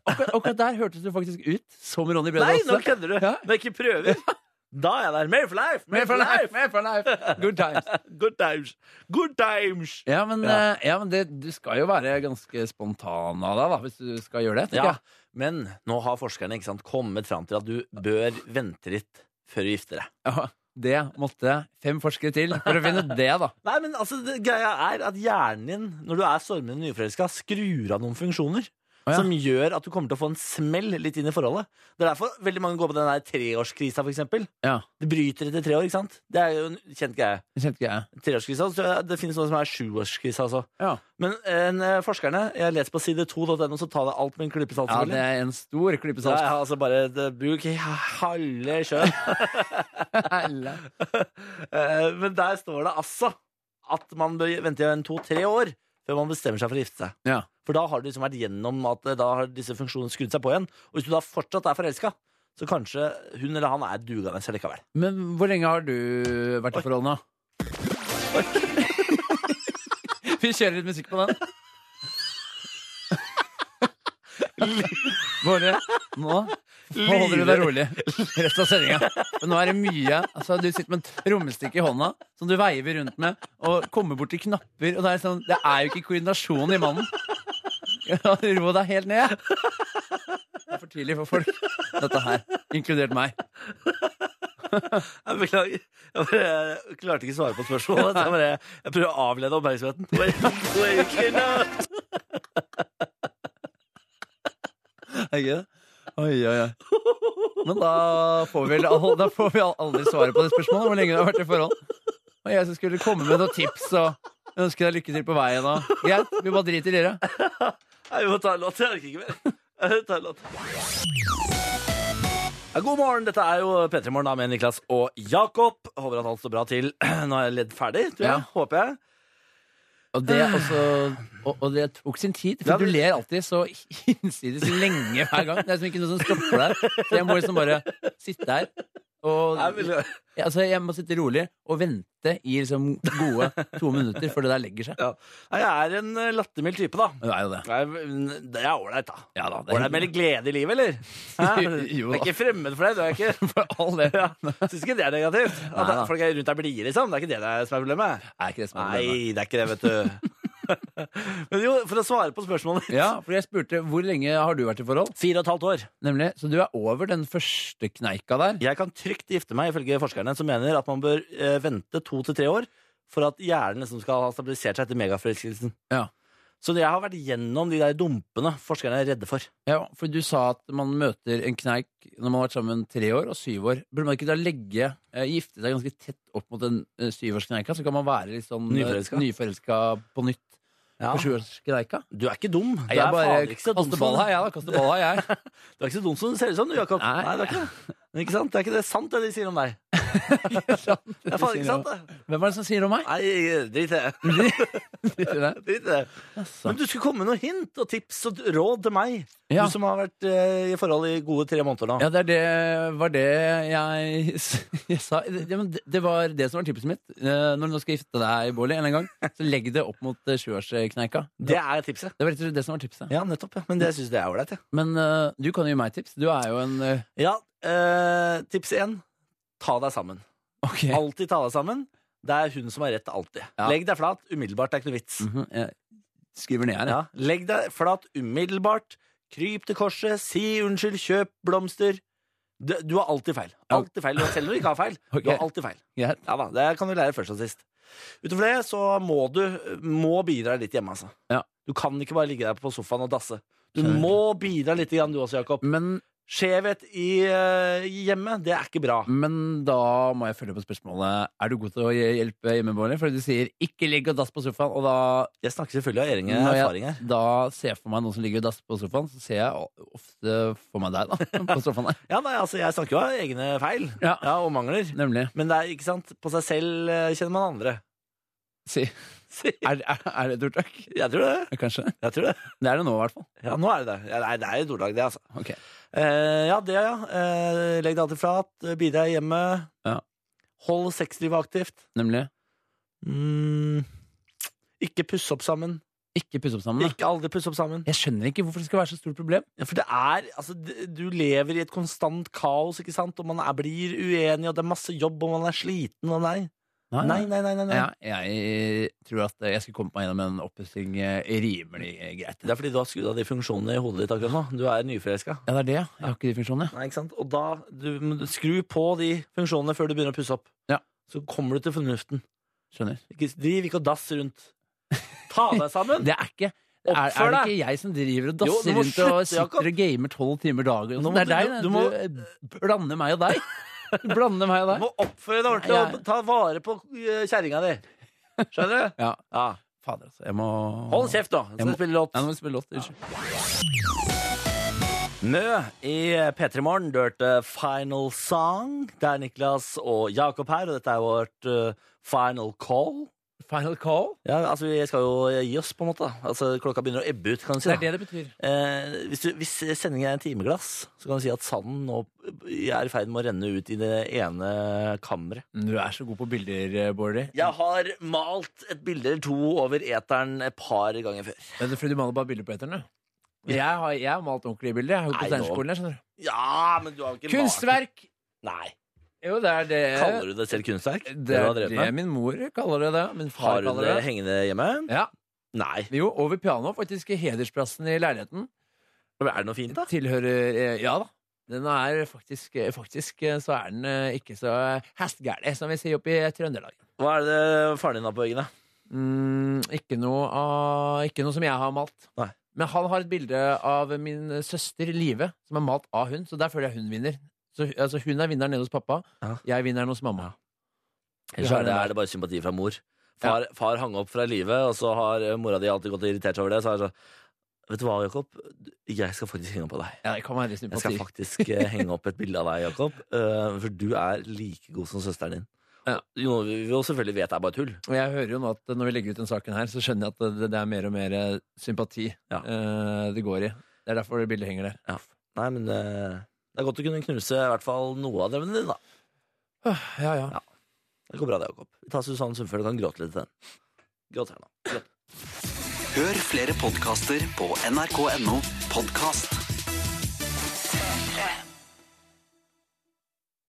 Akkurat, akkurat der hørtes du faktisk ut som Ronny Brede
Nei,
Aase.
nå kødder du!
Ja.
Når jeg ikke prøver, da er jeg der. Made for life!
Med
Made
for
for
life!
life!
Med for life! Good times.
Good times! Good times!
Ja, men,
Ja.
eh, ja, men det, du skal jo være ganske spontan av deg, da, hvis du skal gjøre det.
Ja,
tenker
men nå har forskerne ikke sant, kommet fram til at du bør vente litt før du gifter deg.
jeg. Ja, Det måtte fem forskere til for å finne ut det, da.
Nei, men altså, det, greia er at hjernen din, når du er stormende nyforelska, skrur av noen funksjoner.
Å, ja.
Som gjør at du kommer til å få en smell litt inn i forholdet. Det er derfor veldig mange går på den der treårskrisa, for eksempel.
Ja,
Det bryter etter tre år, ikke sant? Det er jo en kjent greie.
det kjente ikke jeg.
Treårskrisa, så det finnes noe som er sjuårskrisa også.
Ja.
Men eh, forskerne, jeg leser på side 2.no, så ta det alt med en klypesalt,
ja, det
selvfølgelig.
er en stor
Ja,
klypesalt.
ja, altså bare det, bruk halve kjønn.
Helle.
Eh, Men der står det altså at man bør vente en to-tre år før man bestemmer seg for å gifte seg.
Ja.
For da har du liksom vært gjennom at eh, da har disse funksjonene skrudd seg på igjen. Og hvis du da fortsatt er forelska, så kanskje hun eller han er dugende seg likevel.
Men hvor lenge har du vært i forhold nå? Vi kjører litt musikk på den. Båre, nå holder du deg rolig resten av sendinga. For Nå er det mye altså, Du sitter med et rommestikke i hånda som du veiver rundt med, og kommer bort til knapper, og det er, sånn, det er jo ikke koordinasjon i mannen. Ro deg helt ned. Det er for tidlig for folk, dette her. Inkludert meg.
Jeg beklager. Jeg bare, jeg klarte ikke å svare på spørsmålet. så Jeg, bare, jeg prøver å avlede oppmerksomheten. Wait, wait, kvinne.
Er ikke det? Oi, oi, oi. Men da får vi, vel al- da får vi al- aldri svaret på det spørsmålet. Hvor lenge du har vært i forhold. Og jeg som skulle komme med noen tips og ønske deg lykke til på veien. Og. Greit, vi bare driter i det.
Nei, Vi må ta en låt. Jeg orker ikke mer. Jeg tar en låt. Ja, God morgen, dette er jo P3 Morgen da med Niklas og Jakob. Håper at alt står bra til. Nå har jeg ledd ferdig, tror jeg.
Ja.
Håper jeg.
Og det, er også, og, og det tok sin tid, for
Ja,
du
det-
ler alltid så hinsides lenge hver gang. Det er liksom ikke noe som stopper deg. Så jeg må liksom bare sitte her. Og
Nei, men-
altså, jeg må sitte rolig og vente i liksom gode to minutter før det der legger seg.
Ja. Nei, jeg er en eh, lattermild type, da.
Det er jo det.
Nei, men Det er ålreit, da.
Ja da, det er
Ålreit med litt glede i livet, eller? Hæ? Du
Jo
er
da.
ikke fremmed for det. Du er ikke
For all del.
ja. Syns ikke det er negativt. At
Nei da.
folk er rundt deg blide, liksom. Det er ikke det det er som er problemet.
Er ikke det som er problemet?
Nei, det er ikke det, vet du. Men jo, for å svare på spørsmålet
Ja, for jeg spurte hvor lenge har du vært i forhold?
Fire og et halvt år.
Nemlig, Så du er over den første kneika der?
Jeg kan trygt gifte meg, ifølge forskerne, som mener at man bør eh, vente to til tre år for at hjernen liksom skal ha stabilisert seg etter megaforelskelsen.
Ja.
Så jeg har vært gjennom de der dumpene forskerne er redde for.
Ja, for du sa at man møter en kneik når man har vært sammen tre år og syv år. Burde man ikke da legge eh, gifte seg ganske tett opp mot den eh, syvårskneika, så kan man være litt sånn eh,
Nyforelska.
nyforelska på nytt
Ja.
på sjuårskneika?
Du er ikke dum. Du
Jeg
er
bare
fader ikke så dum
kaster ball
som-
her, jeg, da. Kaster ball her, jeg.
Du er ikke så dum som du ser ut som, du, Jakob.
Nei.
Nei, du er ikke det. Men ikke sant? Det er ikke det sant, det de sier om deg. Det er faen ikke sant, det.
Hvem er det som sier om meg?
Nei, drit i det. Drit i det.
Altså.
Men du skulle komme med noen hint og tips og råd til meg,
Ja.
du som har vært eh, i forhold i gode tre måneder nå.
Ja, det er det, var det jeg, s- jeg sa. Det, men det- det var det som var tipset mitt. Eh, Når du nå skal gifte deg, Bårli, en eller annen gang, så legg det opp mot eh, sjuårskneika.
Det er tipset.
Det var rett og slett det som var tipset.
Ja, nettopp. Ja. Men det syns jeg er ålreit, jeg.
Men eh, du kan jo gi meg tips. Du er jo en eh,
Ja, eh, tips én. Ta deg sammen.
Ok.
Alltid ta deg sammen. Det er hun som har rett, alltid.
Ja.
Legg deg flat umiddelbart. Det er ikke noe vits.
Mhm, Jeg skriver ned her. jeg.
Ja, legg deg flat umiddelbart. Kryp til korset. Si unnskyld. Kjøp blomster. Du, du har alltid feil. Alltid feil. Og selv om du ikke har feil.
Ok.
Du har alltid feil.
Greit.
Ja da, Det kan du lære først og sist. Utover det så må du må bidra litt hjemme, altså.
Ja.
Du kan ikke bare ligge der på sofaen og dasse. Du
Skjønner.
må bidra litt, grann, du også, Jakob.
Men,
Skjevhet i eh, i hjemmet, det er ikke bra.
men da må jeg følge på spørsmålet. Er du god til å hj- hjelpe hjemmeboende? Fordi du sier 'ikke ligg og dass på sofaen', og da,
Jeg snakker selvfølgelig av egen
Når jeg-
erfaring her.
da ser jeg for meg noen som ligger og dasser på sofaen, så ser jeg o- ofte for meg deg, da. På sofaen der.
Ja, nei, altså, Jeg snakker jo av egne feil
Ja.
ja, og mangler.
Nemlig.
Men det er ikke sant, på seg selv eh, kjenner man andre.
Si. Er, er, er det et ordtak?
Jeg tror det.
Kanskje.
Jeg tror det.
Det er det nå, i hvert fall.
Ja, nå er det det. Ja, nei, det er jo dordag, det, altså.
Ok.
Eh, ja, det, ja. Eh, legg deg alltid flat. eh, Bidra hjemme.
Ja.
Hold sexlivet aktivt.
Nemlig.
Mm. Ikke pusse opp sammen.
Ikke pusse opp sammen. da.
Ikke aldri pusse opp sammen.
Jeg skjønner ikke hvorfor det skal være så stort problem.
Ja, for det er Altså, d- du lever i et konstant kaos, ikke sant, og man er, blir uenig, og det er masse jobb, og man er sliten, og nei. Nei, nei, nei, nei. nei.
Ja, jeg tror at jeg skulle kommet meg gjennom en oppussing eh, rimelig eh, greit.
Det er fordi du har skrudd av de funksjonene i hodet ditt akkurat nå. Du er nyforelska.
Ja, det er det. ja. Jeg har ikke de funksjonene.
Nei, ikke sant? Og da, du, men du- skru på de funksjonene før du begynner å pusse opp.
Ja.
Så kommer du til fornuften.
Skjønner.
Ikke, driv ikke og dass rundt. Ta deg sammen!
Det er ikke er, er
Oppfør
det
deg!
ikke jeg som driver og
Jo, du
dasser
må
rundt og
slutte, Jakob.
sitter og gamer tolv timer dagen?
Nå
og
må
sånn? Det er
du- du
deg. Du, du blander meg og deg. Du blander meg og
Du
deg.
må oppføre deg ordentlig
Nei, jeg-
og ta vare på eh, kjerringa di. Skjønner du?
Ja,
Ja.
fader altså. Jeg må
Hold kjeft, da. Så
Jeg må-
spiller låt.
Nei, nå må vi spille låt. Unnskyld.
Mø i P3 Morgen. Du hørte Final Song. Det er Niklas og Jakob her, og dette er vårt eh, final call.
Final call.
Ja, altså Vi skal jo gi oss, på en måte. da. Altså Klokka begynner å ebbe ut. kan du si
Det
da.
er det det betyr.
Eh, hvis, du, hvis sendingen er en timeglass, så kan du si at sanden nå er i ferd med å renne ut i det ene kammeret.
Du er så god på bilder, eh, Bårdi.
Jeg har malt et bilde eller to over eteren et par ganger før.
Det er fordi du maler bare bilder på eteren, du. Jeg har, jeg har malt ordentlige bilder. Jeg har jo
Nei,
på tegnskolen. jeg, skjønner du.
Ja, men du har ikke
Kunstverk!
malt Nei.
Jo, det er det.
Kaller du det selv kunstverk? Det
Det
du
er
har drevet
det
med?
min mor kaller det. det. Min far
Har du
kaller
det
det
hengende hjemme?
Ja,
Nei.
Jo, over pianoet. Faktisk hedersplassen i leiligheten.
Er det noe fint, da?
tilhører eh, Ja da. Den er faktisk, eh, faktisk eh, så er den eh, ikke så hestgæli, som vi sier oppe i Trøndelag.
Hva er det faren din har på veggene?
Mm, ikke, noe av, ikke noe som jeg har malt.
Nei.
Men han har et bilde av min søster Live, som er malt av hun, så der føler jeg hun vinner. Så, altså, hun er vinneren nede hos pappa,
Ja.
jeg er vinneren hos mamma.
Ellers
har
er det,
den der.
er det bare sympati fra mor. Far, far hang opp fra livet, og så har eh, mora di alltid gått og irritert seg over det. Så er det sånn Vet du hva, Jakob? Jeg skal faktisk henge opp på deg.
Ja, det kan være
Jeg skal
sympati.
faktisk eh, henge opp et bilde av deg, Jakob. eh, for du er like god som søsteren din.
Ja.
Noe vi vi jo selvfølgelig vet er bare tull.
Og jeg hører jo nå at når vi legger ut den saken her, så skjønner jeg at det, det er mer og mer eh, sympati
Ja.
eh, det går i. Det er derfor det bildet henger der.
Nei, men eh, det er godt å kunne knuse i hvert fall noe av drømmene dine, da.
Åh, Ja, ja.
Det går bra, det, Jakob. Vi tar Susanne Sundfør, du kan gråte litt til den. Gråt her nå. Gråt.
Hør flere podkaster på nrk.no podkast.